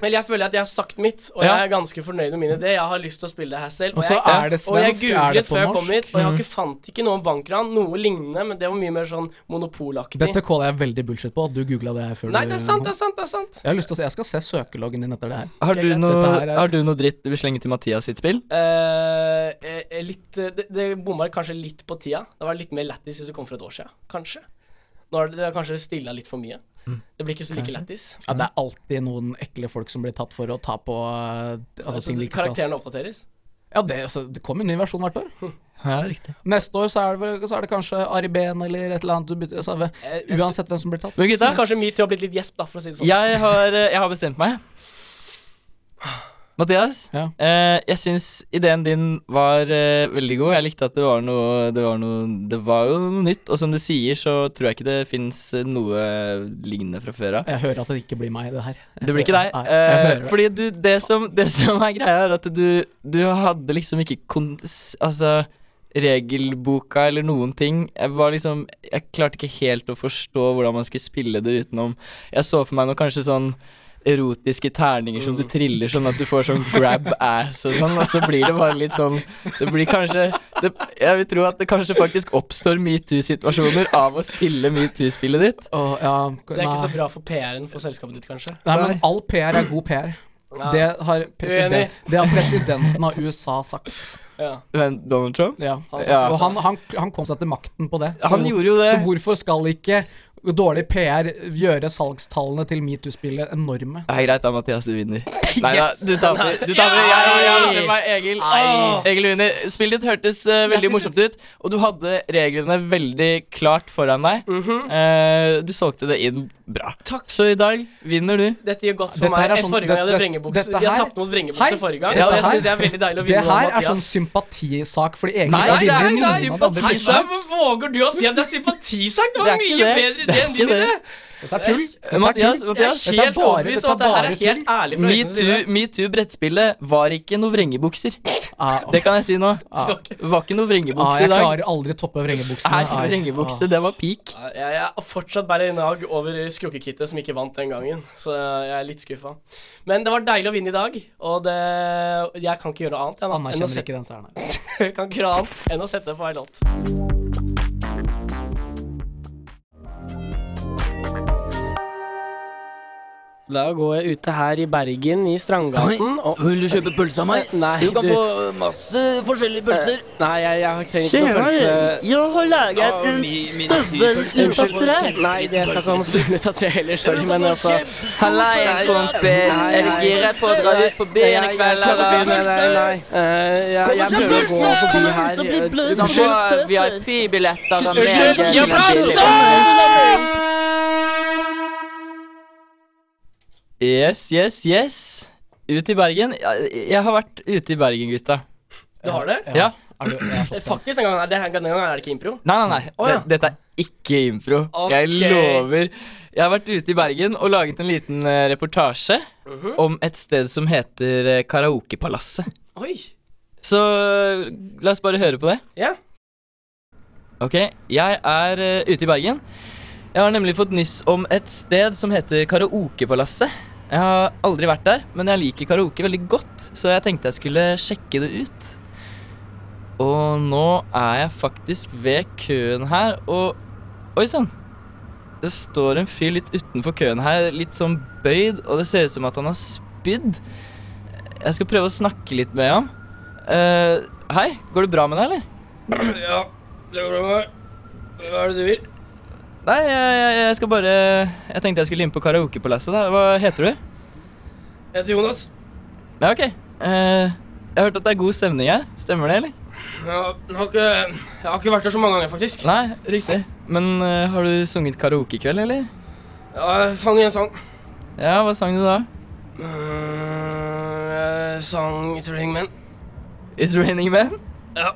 Vel, jeg føler at jeg har sagt mitt, og Ja. jeg er ganske fornøyd med min idé. Jeg har lyst til å spille det her selv. Og så jeg, er det og jeg svensk, er googlet det på før jeg norsk? Mm. kom hit, og jeg har ikke fant ikke noe om bankran. Noe lignende, men det var mye mer sånn monopolaktig. dette caller jeg veldig bullshit på, at du googla det her før Nei, du- det er sant, det er sant, det er sant. Jeg har lyst til å se, jeg skal se søkeloggen din etter det her. Har du, greit. noe, Dette her er- har du noe dritt du vil slenge til Mathias sitt spill? Eh, eh, eh, litt, eh, det det bomma kanskje litt på tida. Det var litt mer lættis hvis du kom for et år siden, kanskje. Nå har det, det har kanskje stilla litt for mye. Mm. Det blir ikke så like lættis. Ja, det er alltid noen ekle folk som blir tatt for å ta på eh, altså, Altså, ting de ikke skal. karakterene oppdateres. Ja, det, altså, det kommer en ny versjon hvert år. Ja, riktig. Neste år så er det, vel- så er det kanskje Ari Behn eller et eller annet. Du bytter, altså, ve- Jeg, jeg uansett hvem som blir tatt. Men gutta, syns kanskje metoo har blitt litt gjesp, da, for å si det sånn. Jeg har, eh, jeg har bestemt meg. Mathias, Ja. eh, jeg syns ideen din var eh, veldig god. Jeg likte at det var noe Det var, noe, det var jo noe nytt. Og som du sier, så tror jeg ikke det fins noe lignende fra før av. Jeg hører at det ikke blir meg, det her. Det blir ikke deg. Nei, jeg Eh, hører det. fordi du, det som, det som er greia, er at du, du hadde liksom ikke kon... Altså regelboka eller noen ting. Jeg var liksom Jeg klarte ikke helt å forstå hvordan man skulle spille det utenom Jeg så for meg noe kanskje sånn erotiske terninger som du Mm. triller, sånn at du får sånn grab ass og sånn, og så blir det bare litt sånn Det blir kanskje det, Jeg vil tro at det kanskje faktisk oppstår metoo-situasjoner av å spille metoo-spillet ditt. Åh, ja, Det er ikke så bra for PR-en for selskapet ditt, kanskje. Nei, men all PR er god PR. Ja. Det har, president, Uenig. det har presidenten av *laughs* USA sagt. Ja. Men Donald Trump? Ja. Ja. Og han, han, han kom seg til makten på det. Han gjorde jo det. Så hvorfor skal ikke dårlig PR gjøre salgstallene til metoo-spillet enorme? Nei, greit da, Mathias, du vinner. Nei da, du taper. Du taper. Jeg, jeg, jeg bestemmer meg. Egil. Åh! Egil vinner. Spillet ditt hørtes eh, veldig morsomt ut, og du hadde reglene veldig klart foran deg. Eh, du solgte det inn bra. Takk. Så i dag vinner du. Dette gjør godt for Dette her meg. er enn sånn- forrige gang jeg hadde dette- vrengebukse. dette Jeg her- tapte mot Hei, vrengebukse forrige gang. dette og det her- syns jeg er veldig deilig å Det vinne nå, her er sånn Mathias. sympatisak, fordi Egil Nei, har det er ikke vunnet ingen av de andre. sympatisak. Nei, men våger du å si at det er sympatisak? Det Det er var ikke mye det. bedre idé enn Det er din ikke idé! Dette er tull. Dette er Mathias, tull. Jeg er Mathias. Dette er helt bare- overbevist om at dette det er her er bare helt ærlig fra Øysteins side. Metoo- Metoo-brettspillet var ikke noe vrengebukser. Ah, Det kan jeg si nå. ah, Det var ikke noe ah, vrengebukse i jeg dag. klarer aldri å toppe vrengebuksene. Nei, vrengebukse, det var peak. Ja, Jeg jeg er fortsatt bare i nag over Skrukkekittet, som ikke vant den gangen. Så jeg er litt skuffa. Men det var deilig å vinne i dag, og det, jeg kan ikke gjøre noe annet. Jeg, da, enn å Anerkjenner sette, ikke den seieren her. jeg *laughs* kan ikke gjøre noe annet enn å sette på ei låt. Da går jeg ute her i Bergen, i Strandgaten. Og Vil du kjøpe pølse av meg? Nei, Du kan du- Eh, få masse forskjellige pølser. nei, jeg, jeg trenger ikke noe pølse. jeg har laget en støvel ut av tre. Nei, det skal ikke ha noe stund ut av tre heller, sorry, men altså Hallais, kompis. Er du gira på å dra ut på byen i kveld, Nei, nei, nei, eller? nei, nei. Eh, jeg, jeg prøver å gå forbi her. Eh, Du kan få VIP-billetter av meg. Unnskyld, Jørgen jeg Billig. Yes, yes, yes. Ut i Bergen. Jeg, jeg har vært ute i Bergen, gutta. Du har det? Ja. Er du- jeg er så Eh, spent. Faktisk, en gang, er det, denne gangen er det ikke impro. Nei, nei, nei. Å, ja. Det- Dette er ikke impro. Jeg Ok. lover. Jeg har vært ute i Bergen og laget en liten eh, reportasje Mhm. om et sted som heter eh, Karaokepalasset. Oi. Så eh, la oss bare høre på det. Ja. Ok, jeg er eh, ute i Bergen. Jeg har nemlig fått nyss om et sted som heter Karaokepalasset. Jeg har aldri vært der, men jeg liker karaoke veldig godt, så jeg tenkte jeg skulle sjekke det ut. Og nå er jeg faktisk ved køen her, og Oi sann! Det står en fyr litt utenfor køen her, litt sånn bøyd, og det ser ut som at han har spydd. Jeg skal prøve å snakke litt med ham. Eh, hei, går det bra med deg, eller? Ja, det går bra med Hva er det du vil? Nei, jeg, jeg, jeg skal bare Jeg tenkte jeg skulle inn på karaokepalasset. da Hva heter du? Jeg heter Jonas. Ja, ok. Eh, jeg har hørt at det er god stemning her. Stemmer det, eller? Jeg har, jeg har ikke, jeg har ikke vært her så mange ganger, faktisk. Nei, riktig. Men eh, har du sunget karaoke i kveld, eller? Jeg sang en sang. Ja, hva sang du da? Eh, Jeg sang It's Raining Men. It's Raining Men? Ja.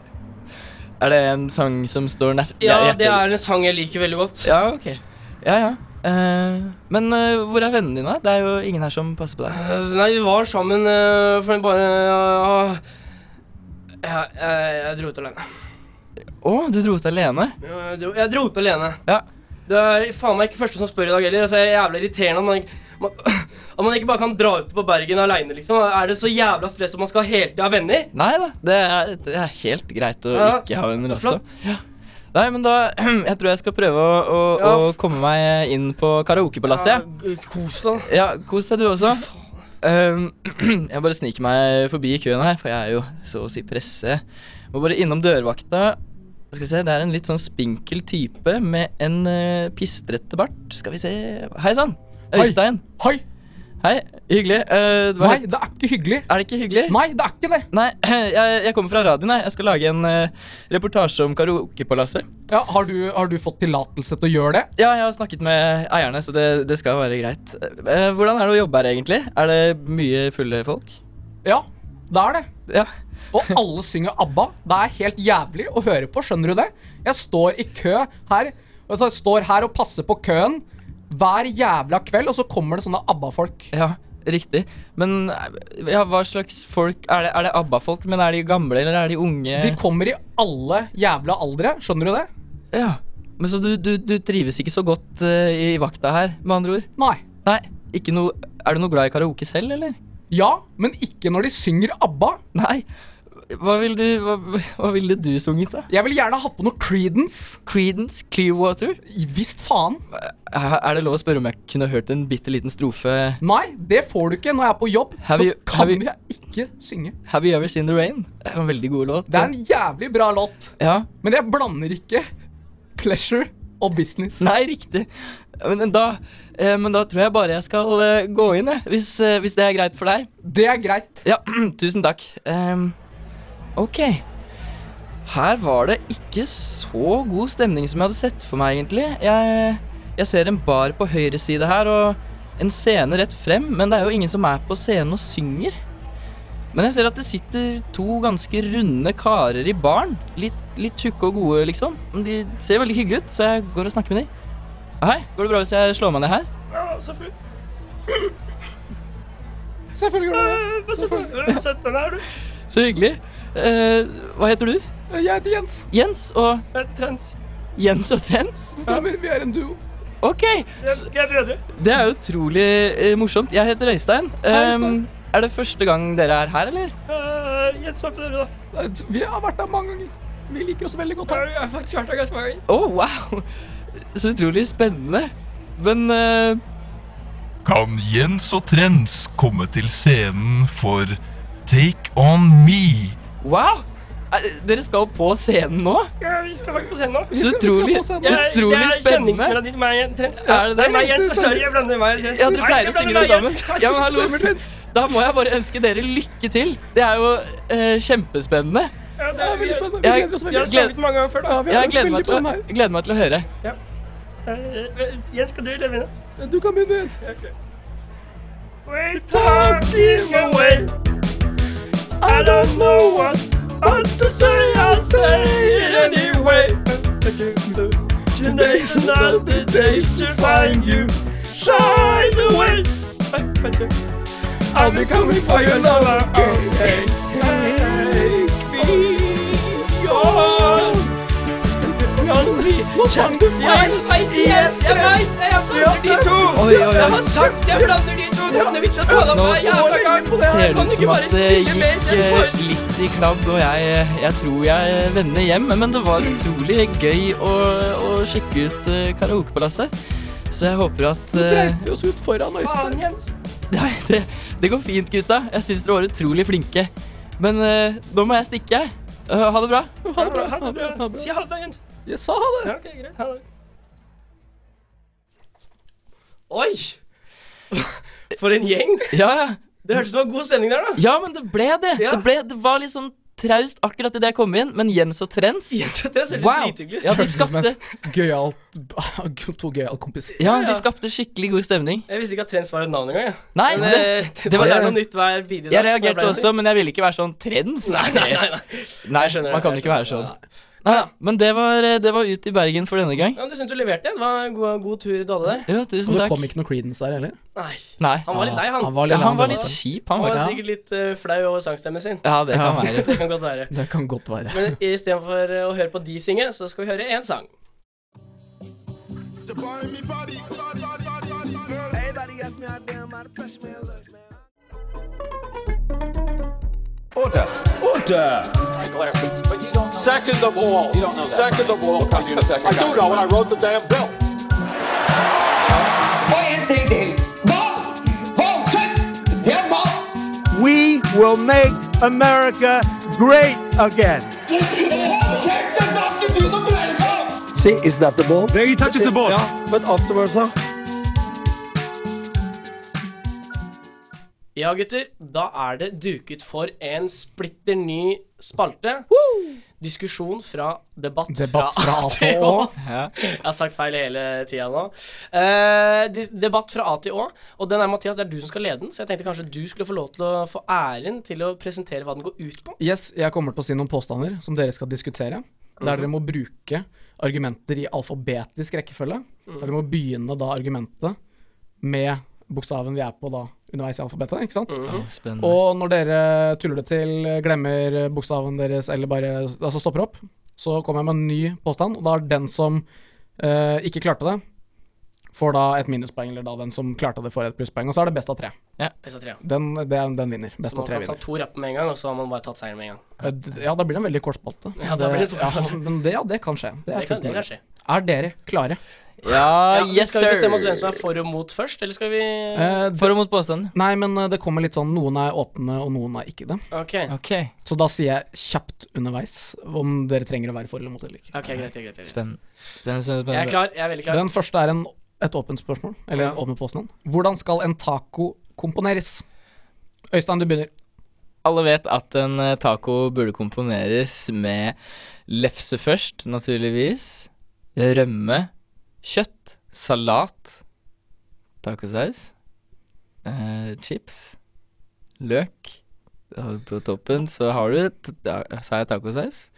Er det en sang som står nært Ja, hjertet det er en sang jeg liker veldig godt. Ja, ok. Ja, ja. Eh, men eh, hvor er vennene dine? da? Det er jo ingen her som passer på deg. Eh, Nei, vi var sammen eh, for en bare eh, jeg, jeg, jeg dro ut alene. Å, du dro ut alene? Jeg dro, jeg dro ut alene. Ja. Det er faen meg ikke første som spør i dag heller. Altså, jeg er jævla irriterende at man, ikke- man, *laughs* at man ikke bare kan dra ut på Bergen aleine, liksom. Er det så jævla stress at man skal hele tida ha venner? Nei da, det er, det er helt greit å Ja, ikke ha venner også. flott. Ja. Nei, men da *clears throat* Jeg tror jeg skal prøve å, å, Ja, å f- komme meg inn på Ja, karaokepalasset. g- Kos deg. Ja, kos deg du også. Um, *clears throat* jeg bare sniker meg forbi køen her, for jeg er jo så å si presse. Må bare innom dørvakta. Skal vi se, Det er en litt sånn spinkel type med en uh, pistrete bart. Skal vi se Hei sann! Hei. Øystein. Hei! Hei. Hyggelig. Eh, hva- Nei, det er ikke hyggelig. Er det ikke hyggelig? Nei, det er ikke det. Nei, *clears throat* jeg, jeg kommer fra radioen. Jeg. jeg skal lage en eh, reportasje om karaokepalasset. Ja, har, du, har du fått tillatelse til å gjøre det? Ja, jeg har snakket med eierne, så det, det skal være greit. Eh, hvordan er det å jobbe her, egentlig? Er det mye fulle folk? Ja, det er det. Ja. Og alle synger ABBA. Det er helt jævlig å høre på, skjønner du det? Jeg står i kø her, og så står her og passer på køen hver jævla kveld, og så kommer det sånne ABBA-folk. ja, riktig. Men eh, ja, hva slags folk Er det, er det ABBA-folk, men er de gamle, eller er de unge? De kommer i alle jævla aldre, skjønner du det? ja. Men Så du, du, du trives ikke så godt eh, i vakta her, med andre ord? Nei. Nei, ikke noe Er du noe glad i karaoke selv, eller? Ja, men ikke når de synger ABBA. Nei. Hva ville du, hva, hva ville du sunget, da? Jeg vil gjerne ha på noe Creedence. Creedence Clearwater? Visst faen. Er er det lov å spørre om jeg kunne hørt en bitte liten strofe Nei, det får du ikke når jeg er på jobb. Have så you- kan have you- jeg ikke synge. Have you ever seen the rain? Det er en veldig god låt. Det er en jævlig bra låt, Ja. men jeg blander ikke pleasure og business. Nei, riktig. Men da, eh, men da tror jeg bare jeg skal eh, gå inn, jeg. Hvis, eh, hvis det er greit for deg. Det er greit. Ja, *clears throat* tusen takk. Ehm, ok. Her var det ikke så god stemning som jeg hadde sett for meg, egentlig. Jeg, jeg ser en bar på høyre side her, og en scene rett frem, men det er jo ingen som er på scenen og synger. Men jeg ser at det sitter to ganske runde karer i baren. Litt, litt tjukke og gode, liksom. Men De ser veldig hyggelige ut, så jeg går og snakker med dem. Hei, går det bra hvis jeg slår meg ned her? Ja, selvfølgelig. Selvfølgelig gjør det det. Ja, Eh, selvfølgelig. Sett deg ned, du. Så hyggelig. Eh, hva heter du? Jeg heter Jens. Jens og Jeg heter Trens. Jens og Trens? Det stemmer, vi er en duo. Ok, s- Jeg er brødre. det er utrolig eh, morsomt. Jeg heter Øystein. Um, er det første gang dere er her, eller? Eh, Jens, hva er på dere, da? Vi har vært der mange ganger. Vi liker oss veldig godt her. Jeg har faktisk vært der ganske mange ganger. Å, wow! Så utrolig spennende. Men eh, Kan Jens og Trens komme til scenen for Take On Me? wow! Eh, Dere skal på scenen nå? Ja, vi skal faktisk på scenen nå. Så utrolig, på scenen. Jeg- utrolig det er spennende. kjenningsmelodien til meg, Trens. Er det det? Nei, meg, Jens. Sorry, jeg blander meg. og Trens. Ja, dere Nei, pleier jeg å synge det blander meg, sammen. Jens. Ja, men hallo. Da må jeg bare ønske dere lykke til. Det er jo eh, kjempespennende. Ja, det er veldig spennende. Jeg- Vi har Gled- snakket mange ganger før, da. Jeg gleder meg til å, gleder meg til å høre. Eh, eh, Jens, skal du eller begynne? Du kan begynne, Jens. We're talking away. I don't know what, what to say. I'll say it anyway. Today's not the day to find you. Shine away. I'll be coming for you now. Okay, take me on. Nå sang du feil! Yes, jeg veit! Jeg blander de to! Oi, oi, Jeg oi. har sagt jeg blander de to! Det er vits å tale om Nå hver jævla gang! ser det Kan ut du som ikke bare at det spille mer gikk enn eh, for- litt i klabb, og jeg, jeg tror jeg vender hjem. Men det var utrolig gøy å, å sjekke ut eh, karaokepalasset. Så jeg håper at eh, Dreit vi oss ut foran Øystein? Faen, Jens. Nei, det, det går fint, gutta. Jeg syns dere var utrolig flinke. Men eh, nå må jeg stikke, jeg. Eh, ha det bra. Ha det bra. Ha det bra. Si ha det, da, Jens. Jeg sa ha det. Ja, ok, greit. Ha det. Oi! *laughs* For en gjeng! Ja, ja. Det hørtes ut som det var god stemning der, da. ja men det ble det. Ja. Det, ble, det var litt sånn traust akkurat idet jeg kom inn, men Jens og Trens Det ser Wow! drithyggelig ut. Ja, de Hørtes ut som skapte, Gøyalt *laughs* To gøyale kompiser. ja, ja. de skapte skikkelig god stemning. Jeg visste ikke at Trends var et navn engang. jeg. Nei, Men, det, eh, det, det var- var det er noe nytt hver video. Jeg reagerte også, men jeg ville ikke være sånn trends. Nei, nei, *laughs* nei, skjønner, man kan jeg ikke være sånn. skjønner. Nei, men det var, eh, det var ut i Bergen for denne gang. Ja, men Du syntes du leverte. Det var en god, god tur du hadde der. Jo, Og tusen det takk. kom ikke noe Creedence der heller? Nei. Nei. Han var litt lei, han. Han var Ja, litt, han var lei, litt han. kjip, han Han var var sikkert litt eh, flau over sangstemmen sin. Ja, det kan være. Det kan godt være. Det kan godt være. Men istedenfor eh, å høre på de synge, så skal vi høre én sang. Second of all, you don't know that. second of all, I do know, and I wrote the damn bill. We will make America great again. See, is that the ball? He touches the ball. But afterwards, huh? Ja, gutter, da er det duket for en splitter ny spalte. Diskusjon fra debatt, Debatt fra A til Å. Å. Jeg har sagt feil hele tida nå. Eh, dis- debatt fra A til Å. Og den er Mathias, det er du som skal lede den, så jeg tenkte kanskje du skulle få lov til å få æren til å presentere hva den går ut på. Yes, jeg kommer til å si noen påstander som dere skal diskutere. Der dere må bruke argumenter i alfabetisk rekkefølge. Der dere må begynne da argumentet med bokstaven vi er på da underveis i alfabetet. ikke sant? Spennende. Og når dere tuller det til, glemmer bokstaven deres eller bare altså stopper opp, så kommer jeg med en ny påstand, og da er den som eh, ikke klarte det, får da et minuspoeng, eller da den som klarte det, får et plusspoeng. Og så er det best av tre. Best av tre. Den, den, den vinner. Best så av man tre kan ta vinner. to rappe med en gang, og så har man bare tatt seieren med en gang. Eh, d- Ja, da blir det en veldig kort spalte. Ja, da blir det en kort spalte. ja, men det, ja, det kan skje. Det er, Det kan- fullt det kan mulig. skje. er dere klare? Ja, men yes, skal vi bestemme oss sir! hvem som er for og mot først, eller skal vi Eh, For og mot påstanden. Nei, men eh, det kommer litt sånn Noen er åpne, og noen er ikke det. Ok, Ok, Så da sier jeg kjapt underveis om dere trenger å være for eller mot eller ikke. ok, greit, greit, greit, greit. spennende. Spennende, spennende, Jeg er spennende. klar. Jeg er veldig klar. Den første er en, et åpent spørsmål. Eller en åpen påstand. Hvordan skal en taco komponeres? Øystein, du begynner. Alle vet at en eh, taco burde komponeres med lefse først, naturligvis. Rømme, kjøtt, salat, tacosaus, eh, chips, løk. Og På toppen så har du t- da- Sa jeg tacosaus?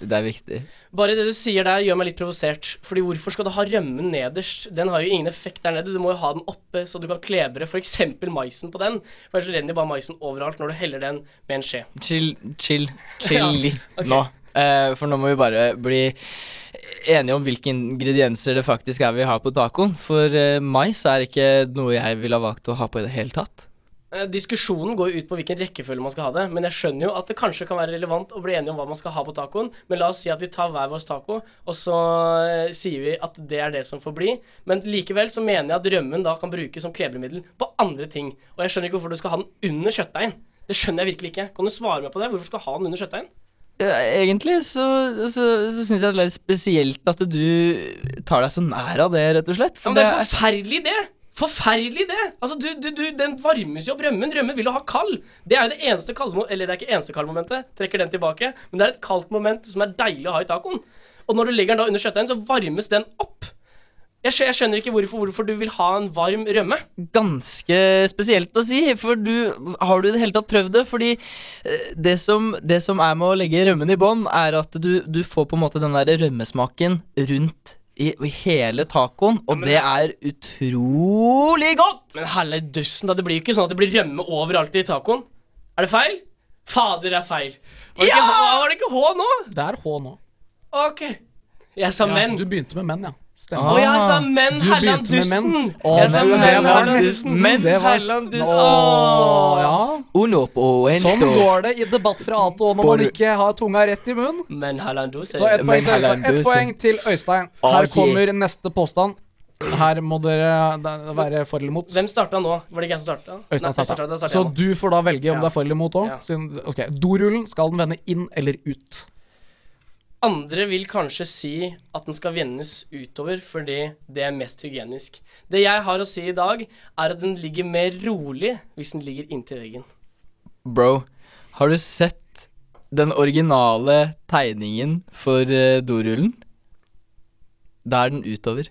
Det er viktig. Bare det du sier der, gjør meg litt provosert. Fordi hvorfor skal du ha rømmen nederst? Den har jo ingen effekt der nede. Du må jo ha den oppe, så du kan klebre f.eks. maisen på den. For ellers renner jo bare maisen overalt når du heller den med en skje. Chill, chill, chill Ja, litt nå. Eh, for nå må vi bare bli enige om hvilke ingredienser det faktisk er vi har på tacoen. For eh, mais er ikke noe jeg ville ha valgt å ha på i det hele tatt. Eh, Diskusjonen går jo ut på hvilken rekkefølge man skal ha det, men jeg skjønner jo at det kanskje kan være relevant å bli enige om hva man skal ha på tacoen. Men la oss si at vi tar hver vår taco, og så eh, sier vi at det er det som får bli. Men likevel så mener jeg at rømmen da kan brukes som klebremiddel på andre ting. Og jeg skjønner ikke hvorfor du skal ha den under kjøttdeigen. Det skjønner jeg virkelig ikke. Kan du svare meg på det? Hvorfor skal du ha den under kjøttdeigen? Ja, egentlig så, så, så syns jeg det er litt spesielt at du tar deg så nær av det, rett og slett. Ja, For men det er en det er, forferdelig idé! Forferdelig idé! Altså, du, du, du, den varmes jo opp rømmen. Rømmen vil jo ha kald. Det er jo det eneste kaldmo... Eller det er ikke eneste kaldmomentet, trekker den tilbake, men det er et kaldt moment som er deilig å ha i tacoen. Og når du legger den da under kjøttdeigen, så varmes den opp. Jeg, skjø- jeg skjønner ikke hvorfor, hvorfor du vil ha en varm rømme. ganske spesielt å si, for du Har du i det hele tatt prøvd det? Fordi eh, det som, det som er med å legge rømmen i bånn, er at du, du får på en måte den der rømmesmaken rundt i, i hele tacoen, og det er utrolig godt! Men helle dussen, da. Det blir jo ikke sånn at det blir rømme overalt i tacoen. Er det feil? Fader, det er feil. Var det, ikke, H, var det ikke H nå? Det er H nå. OK. Jeg sa Ja, men. du begynte med menn, ja. Å, Stemmer. jeg sa men, Ah, Du Herland begynte med menn. Dussen! Å, Jeg sa men men, det var Herland nesten- Dussen. Men det var- Herland Å, ja. Uno poento. Sånn går det i debatt fra A til Å når man ikke har tunga rett i munnen. Men Herland Dussen. Så ett Men poeng, til Øystein. Haaland, du ett poeng til Øystein. Her Å, kommer neste påstand. Her må dere da- være for eller mot. Hvem starta nå? Var det ikke jeg som starta? Øystein starta. starta. Da starter Så jeg nå. du får da velge om Ja. det er for eller mot Ja. òg. Ok, Dorullen, skal den vende inn eller ut? Andre vil kanskje si at den skal vendes utover fordi det er mest hygienisk. Det jeg har å si i dag, er at den ligger mer rolig hvis den ligger inntil veggen. Bro, har du sett den originale tegningen for eh, dorullen? Da er den utover.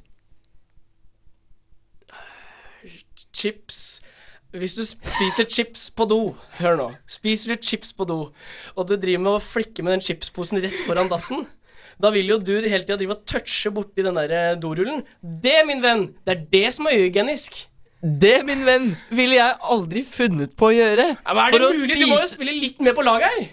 Chips Hvis du spiser chips på do Hør nå. Spiser du chips på do, og du driver med å flikke med den chipsposen rett foran dassen, da vil jo du hele tida drive og touche borti den der eh, dorullen. Det, min venn, det er det som er uhygienisk. Det, min venn, ville jeg aldri funnet på å gjøre. Ja, men er det mulig? Du må jo spille litt med på laget her.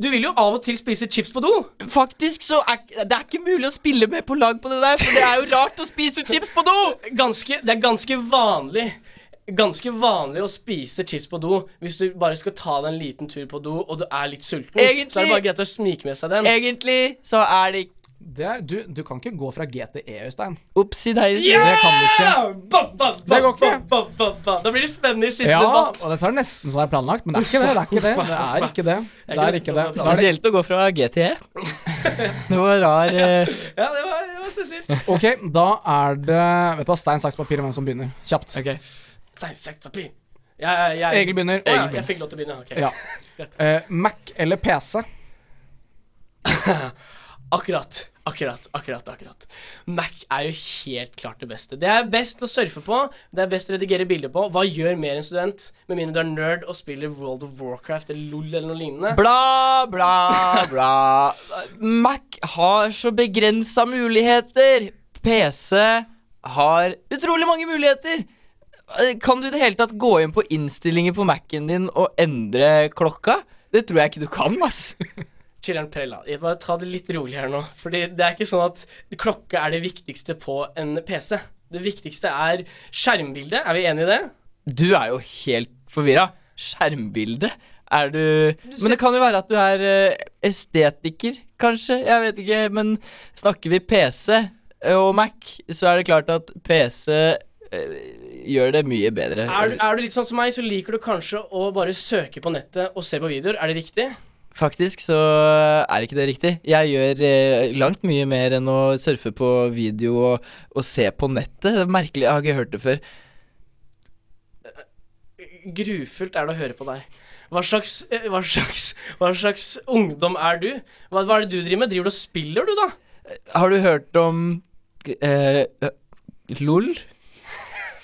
Du vil jo av og til spise chips på do. Faktisk så er det er ikke mulig å spille med på lag på det der, for det er jo rart å spise chips på do! Ganske, det er ganske vanlig. Ganske vanlig å spise chips på do hvis du bare skal ta deg en liten tur på do og du er litt sulten. Egentlig- Så er det bare greit å smike med seg den. Egentlig så er det ikke Det er, du, du kan ikke gå fra G til E, Øystein. Opsi deisi. Det kan du ikke. Ja! Ba, ba, ba, Det går ikke. Ba, ba, ba. Da blir det spennende i siste Ja, debatt. og dette er nesten så det er planlagt, men det er ikke det. Det er ikke det. Det er ikke *laughs* det. Det er ikke det. Da er det Spesielt å gå fra GTE. Det var rar eh, Ja, det var, det var spesielt. Ok, da er det Vet du hva, stein, saks, papir om hvem som begynner. Kjapt. Stein, saks, papir. Jeg, jeg, Egil begynner. Å, ja, jeg fikk lov til å begynne. ok. Ja. Eh, Mac eller *laughs* PC? Akkurat. Akkurat, akkurat, akkurat. Mac er jo helt klart det beste. Det er best å surfe på, det er best å redigere bilder på. Hva gjør mer en student, med mindre du er nerd og spiller World of Warcraft eller LOL eller noe lignende? Bla, bla, bla. Mac har så begrensa muligheter. PC har utrolig mange muligheter. Eh, Kan du i det hele tatt gå inn på innstillinger på Mac-en din og endre klokka? Det tror jeg ikke du kan, ass. Chiller'n Prella, jeg bare ta det litt rolig her nå. Fordi det er ikke sånn at klokka er det viktigste på en PC. Det viktigste er skjermbildet. Er vi enige i det? Du er jo helt forvirra. Skjermbilde? Er du Men det kan jo være at du er eh, estetiker, kanskje? Jeg vet ikke. Men snakker vi PC og Mac, så er det klart at PC eh, gjør det mye bedre. Er du, er du litt sånn som meg, så liker du kanskje å bare søke på nettet og se på videoer. Er det riktig? Faktisk så er ikke det riktig. Jeg gjør eh, langt mye mer enn å surfe på video og, og se på nettet. Det er merkelig, jeg har ikke hørt det før. Grufullt er det å høre på deg. Hva slags, eh, hva slags, hva slags ungdom er du? Hva, hva er det du driver med? Driver du og spiller, du, da? Har du hørt om eh, eh, LOL?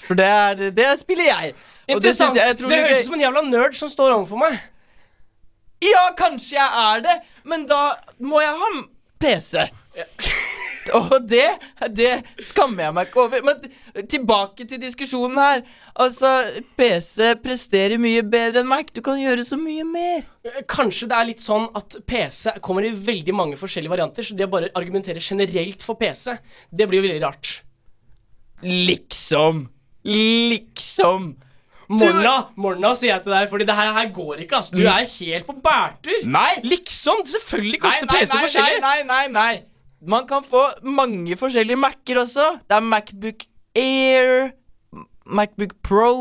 For det er Det spiller jeg! Og det Interessant. synes Det, jeg, jeg tror høres ut som en jævla nerd som står overfor meg. Ja, kanskje jeg er det, men da må jeg ha m- PC. *laughs* Og det, det skammer jeg meg ikke over. Men tilbake til diskusjonen her. Altså, PC presterer mye bedre enn Mac. Du kan gjøre så mye mer. Kanskje det er litt sånn at PC kommer i veldig mange forskjellige varianter, så det å bare argumentere generelt for PC, det blir jo veldig rart. Liksom. Liksom. Morna, morna, sier jeg til deg, fordi det her, her går ikke, ass. Du er helt på bærtur. Mm. Nei. Liksom. Selvfølgelig koster Nei, nei, PC nei, forskjellig. Nei, nei, nei, nei. Man kan få mange forskjellige Mac-er også. Det er Macbook Air, M- Macbook Pro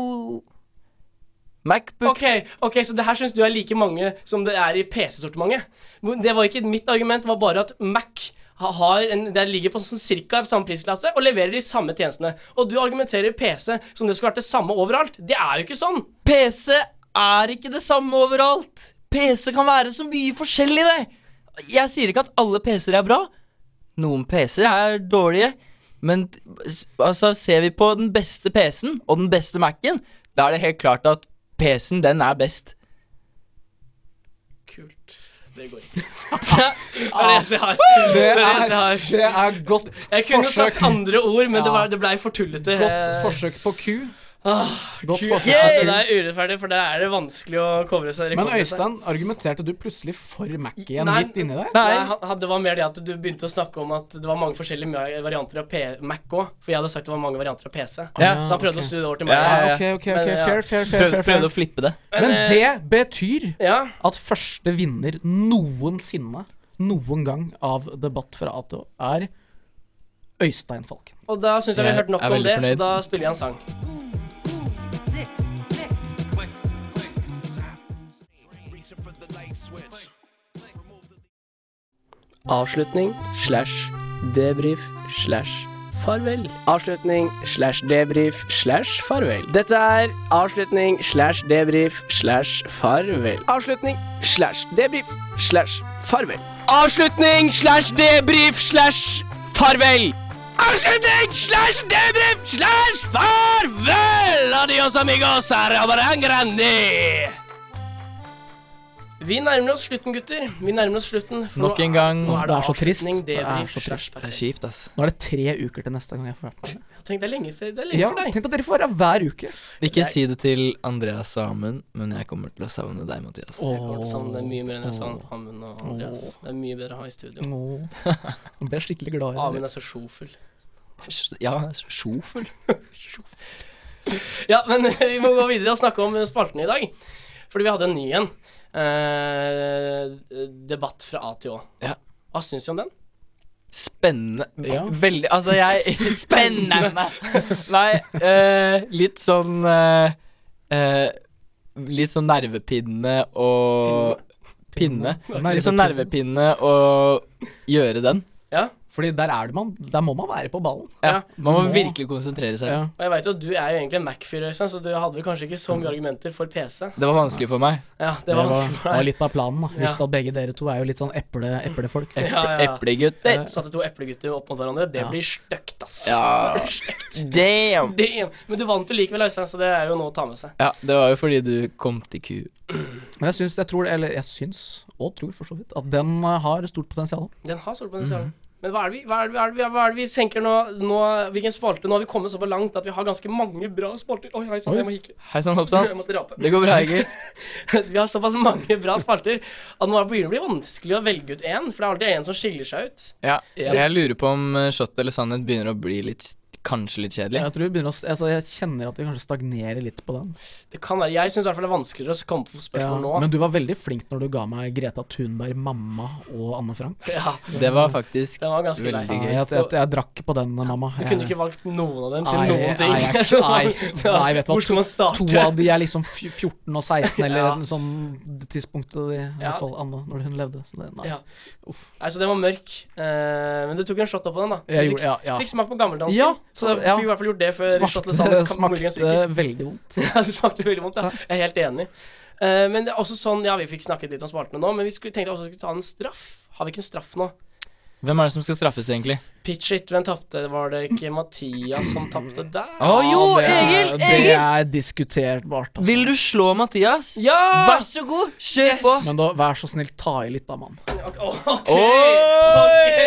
Macbook Ok, ok, så det her syns du er like mange som det er i PC-sortimentet. Hvor- Det var ikke mitt argument, det var bare at Mac ha- har en, det ligger på sånn cirka samme prisklasse og leverer de samme tjenestene. Og du argumenterer PC som det skulle vært det samme overalt. Det er jo ikke sånn. PC er ikke det samme overalt. PC kan være så mye forskjellig, det. Jeg sier ikke at alle PC-er er bra. Noen PC-er er dårlige. Men t- s- altså, ser vi på den beste PC-en og den beste Mac-en, da er det helt klart at PC-en, den er best. Kult. Det går *laughs* ikke. Altså, Det ah. er det eneste jeg har. Det er det eneste jeg har. det er godt Jeg kunne jo sagt andre ord, men det, Ja. var, det blei for tullete. Godt forsøk på ku. Ah, Godt Kult. forsøk Ja, på det ku. der er urettferdig, for der er det vanskelig å covre seg. Men covre seg. Øystein, argumenterte du plutselig for Mac igjen Nei, midt inni der? Nei, han- han- det var mer det at du begynte å snakke om at det var mange forskjellige ma- varianter av P Mac òg. For jeg hadde sagt det var mange varianter av PC. Ja, så han prøvde ok. å snu det over til meg. Ja, Ah, ok, ok, ok, Men, ja. fair, fair, fair, Prøv, fair, fair. prøvde å flippe det. Men det eh, betyr Ja, at første vinner noensinne, noen gang, av debatt fra A til Å, er Øystein Falken. Og da syns jeg vi har Jeg hørt nok er om veldig det, så fornøyd. da spiller jeg en sang. Avslutning slash debrief slash farvel. Avslutning slash debrief slash farvel. Dette er avslutning slash debrief slash farvel. Avslutning slash debrief slash farvel. Avslutning slash debrief slash farvel. Avslutning slash debrief slash farvel. Adios amigos, arabarang grandi. Vi nærmer oss slutten, gutter. Vi nærmer oss slutten. for Nok nå en er- gang. nå Det er så trist. avslutning, Det er debrief, så trist. Det slash- er kjipt, ass. Nå er det tre uker til neste gang jeg får være med. Tenk, det er lenge, siden- det er lenge Ja, for deg. tenk at dere får være hver uke. Ikke si det til Andreas og Amund, men jeg kommer til å savne deg, Jeg Mathias. kommer til å savne deg mye mer enn jeg savnet Åh. Amund og Andreas. Det er mye bedre å ha i studio. Nå Nå ble jeg skikkelig glad i Amund dere. er så sjofull. Ja, sjofel. Ja, men *laughs* vi må gå videre og snakke om spalten i dag. Fordi vi hadde en ny en. Eh, debatt fra A til Å. Ja. Hva syns du om den? Spennende. Ja. Veldig Altså, jeg Spennende! Nei, eh, litt sånn eh, eh, Litt sånn nervepirrende og Pinne. Litt sånn nervepirrende å gjøre den. Ja? Fordi der er det man Der må man være på ballen. Ja, man må Må. virkelig konsentrere seg. Ja. Og jeg vet jo at du er jo egentlig en Mac-fyr, Øystein, så du hadde vel kanskje ikke så mye argumenter for PC. Det var vanskelig for meg. Ja, det Mm. Det var var, vanskelig for var deg. litt av planen. da Visste Ja. at begge dere to er jo litt sånn eple, eplefolk. Ja, ja, ja. Eplegutter. Satte to eplegutter opp mot hverandre. Det Ja. blir støkt, ass. Ja. *laughs* Damn! Damn. Men du vant jo likevel, Øystein, så det er jo noe å ta med seg. Ja, det var jo fordi du kom til ku. Men jeg syns, jeg tror, eller jeg syns, og tror for så vidt, at den eh, har stort potensial. Den har stort potensial. Men hva er, det vi, hva, er det, vi- hva, er det, vi- hva er det vi tenker nå, nå? Hvilken spalte? Nå har vi kommet så langt at vi har ganske mange bra spalter. Oi, hei sann, jeg må hikke. Hei sann, hopp Jeg *laughs* sann. måtte rape. *laughs* Det går bra, Egil. Vi har såpass mange bra spalter at nå begynner det å bli vanskelig å velge ut én. For det er alltid én som skiller seg ut. Ja, jeg lurer på om eh, shot eller sannhet begynner å bli litt kanskje litt kjedelig. Jeg tror vi begynner å, s- altså, jeg kjenner at vi kanskje stagnerer litt på den. Det kan være, Jeg syns i hvert fall det er vanskeligere å komme på spørsmål nå. Men du var veldig flink når du ga meg Greta Thunberg, mamma og Anne Frank. *laughs* Ja. Det var faktisk Den var ganske lei. veldig Ja, gøy. jeg, jeg, jeg drakk på den, eh, mamma. Du kunne ikke valgt noen av dem til Nei, noen ting. Nei, jeg- *laughs* nei, Ja, nei, vet du hva. Hvor skal man To starte? av de er liksom fj- 14 og 16, eller Ja. et sånn tidspunkt av de, i Ja. hvert fall Anne, når hun levde. Så det, nei. Ja. Nei, så den var mørk. Eh, men du tok en shot opp på den, da. Du Jeg fikk, gjorde, ja, ja. fikk smak på gammeldansken. Ja, så da ja. fikk vi i hvert fall gjort det før Smakte, shotless salad *laughs* kan- muligens smakte ryker. eh, veldig vondt. *laughs* Ja, det smakte veldig vondt. Ja. Jeg er helt enig. Eh, men det er også sånn, ja, vi fikk snakket litt om spaltene nå, men vi skulle, tenkte også vi skulle ta en straff. Har vi ikke en straff nå? Hvem er det som skal straffes, egentlig? Pitch it, hvem tapte? Var det ikke Mathias som tapte der? Ah. Å jo, Ja, Egil! det, det er diskuterbart, altså. Vil du slå Mathias? Ja! Vær så god, kjør Yes! på! Men da, vær så snill, ta i litt da, mann. Ok! ok. Oi!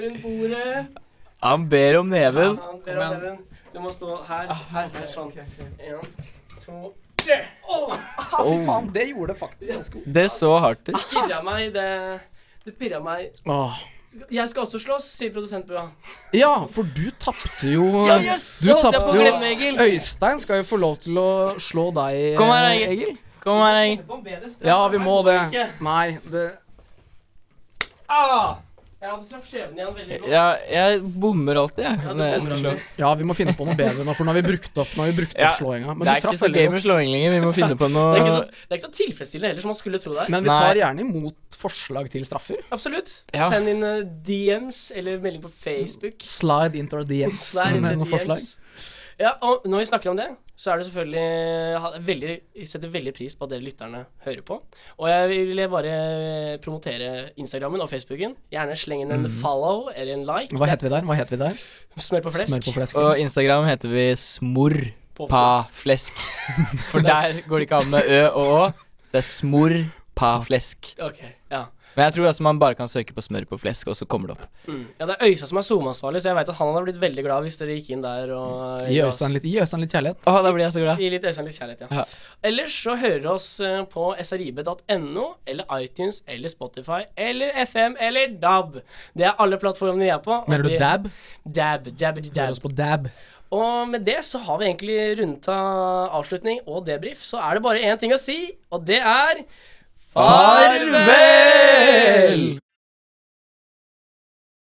Rundt bordet. Han ber om neven. Han, dere, dere, Du må stå her. Ah, her. Sånn. En, to Fy faen, det gjorde det faktisk ganske godt. Det så hardt ut. Pirra meg, det Du pirra meg. Åh. Jeg skal også slåss, sier produsentbua. Ja, for du tapte jo Du Nå holdt jeg tapte på å jo glemme, Egil. Øystein skal jo få lov til å slå deg, Kom her, eh, Egil. Kom her, Egil. Ja, vi må det. Nei, det Ah! Jeg hadde traff skjebnen igjen veldig godt. Ja, jeg bommer alltid, jeg. du når jeg skal bommer slå. alltid. Ja, vi må finne på noe bedre nå, for nå har vi brukt opp, nå har vi brukt opp Ja, slåinga. Men Det du er ikke traff så veldig gøy med godt. slåing lenger. Vi må finne *laughs* på Det er, ikke noe så, det er ikke så tilfredsstillende heller, som man skulle tro det er. Men vi tar gjerne imot forslag til straffer. Absolutt. Ja. Send inn eh, DMs eller melding på Facebook. Slide into our DMs Slide med into noen forslag. DMs. Ja, og når vi snakker om det, så er det selvfølgelig ha- veldig, Jeg setter veldig pris på at dere lytterne hører på. Og jeg vil bare promotere Instagrammen og Facebooken. Gjerne sleng inn en follow eller en like. Mm. Hva heter vi der? Hva heter vi der? Smør på flesk. Smør på flesk. Og Instagram heter vi På smorpaflesk. *laughs* For der går det ikke an med ø og å. Det er smorpaflesk. Ok, ja. Men jeg tror altså man bare kan søke på smør på flesk, og så kommer det opp. ja, det er Øystein som er SoMe-ansvarlig, så jeg veit at han hadde blitt veldig glad hvis dere gikk inn der og Gi Øystein litt, gi Øystein litt kjærlighet. Å, da blir jeg så glad. Gi litt Øystein litt kjærlighet, ja. Ja. Ellers så hører du oss eh, på srib.no, eller iTunes, eller Spotify, eller FM, eller DAB. Det er alle plattformene vi er på. og Mener du det- dab? Dab, dab, dab. Hør oss på dab. Og med det så har vi egentlig rundet av avslutning og debrief. Så er det bare én ting å si, og det er Farvel!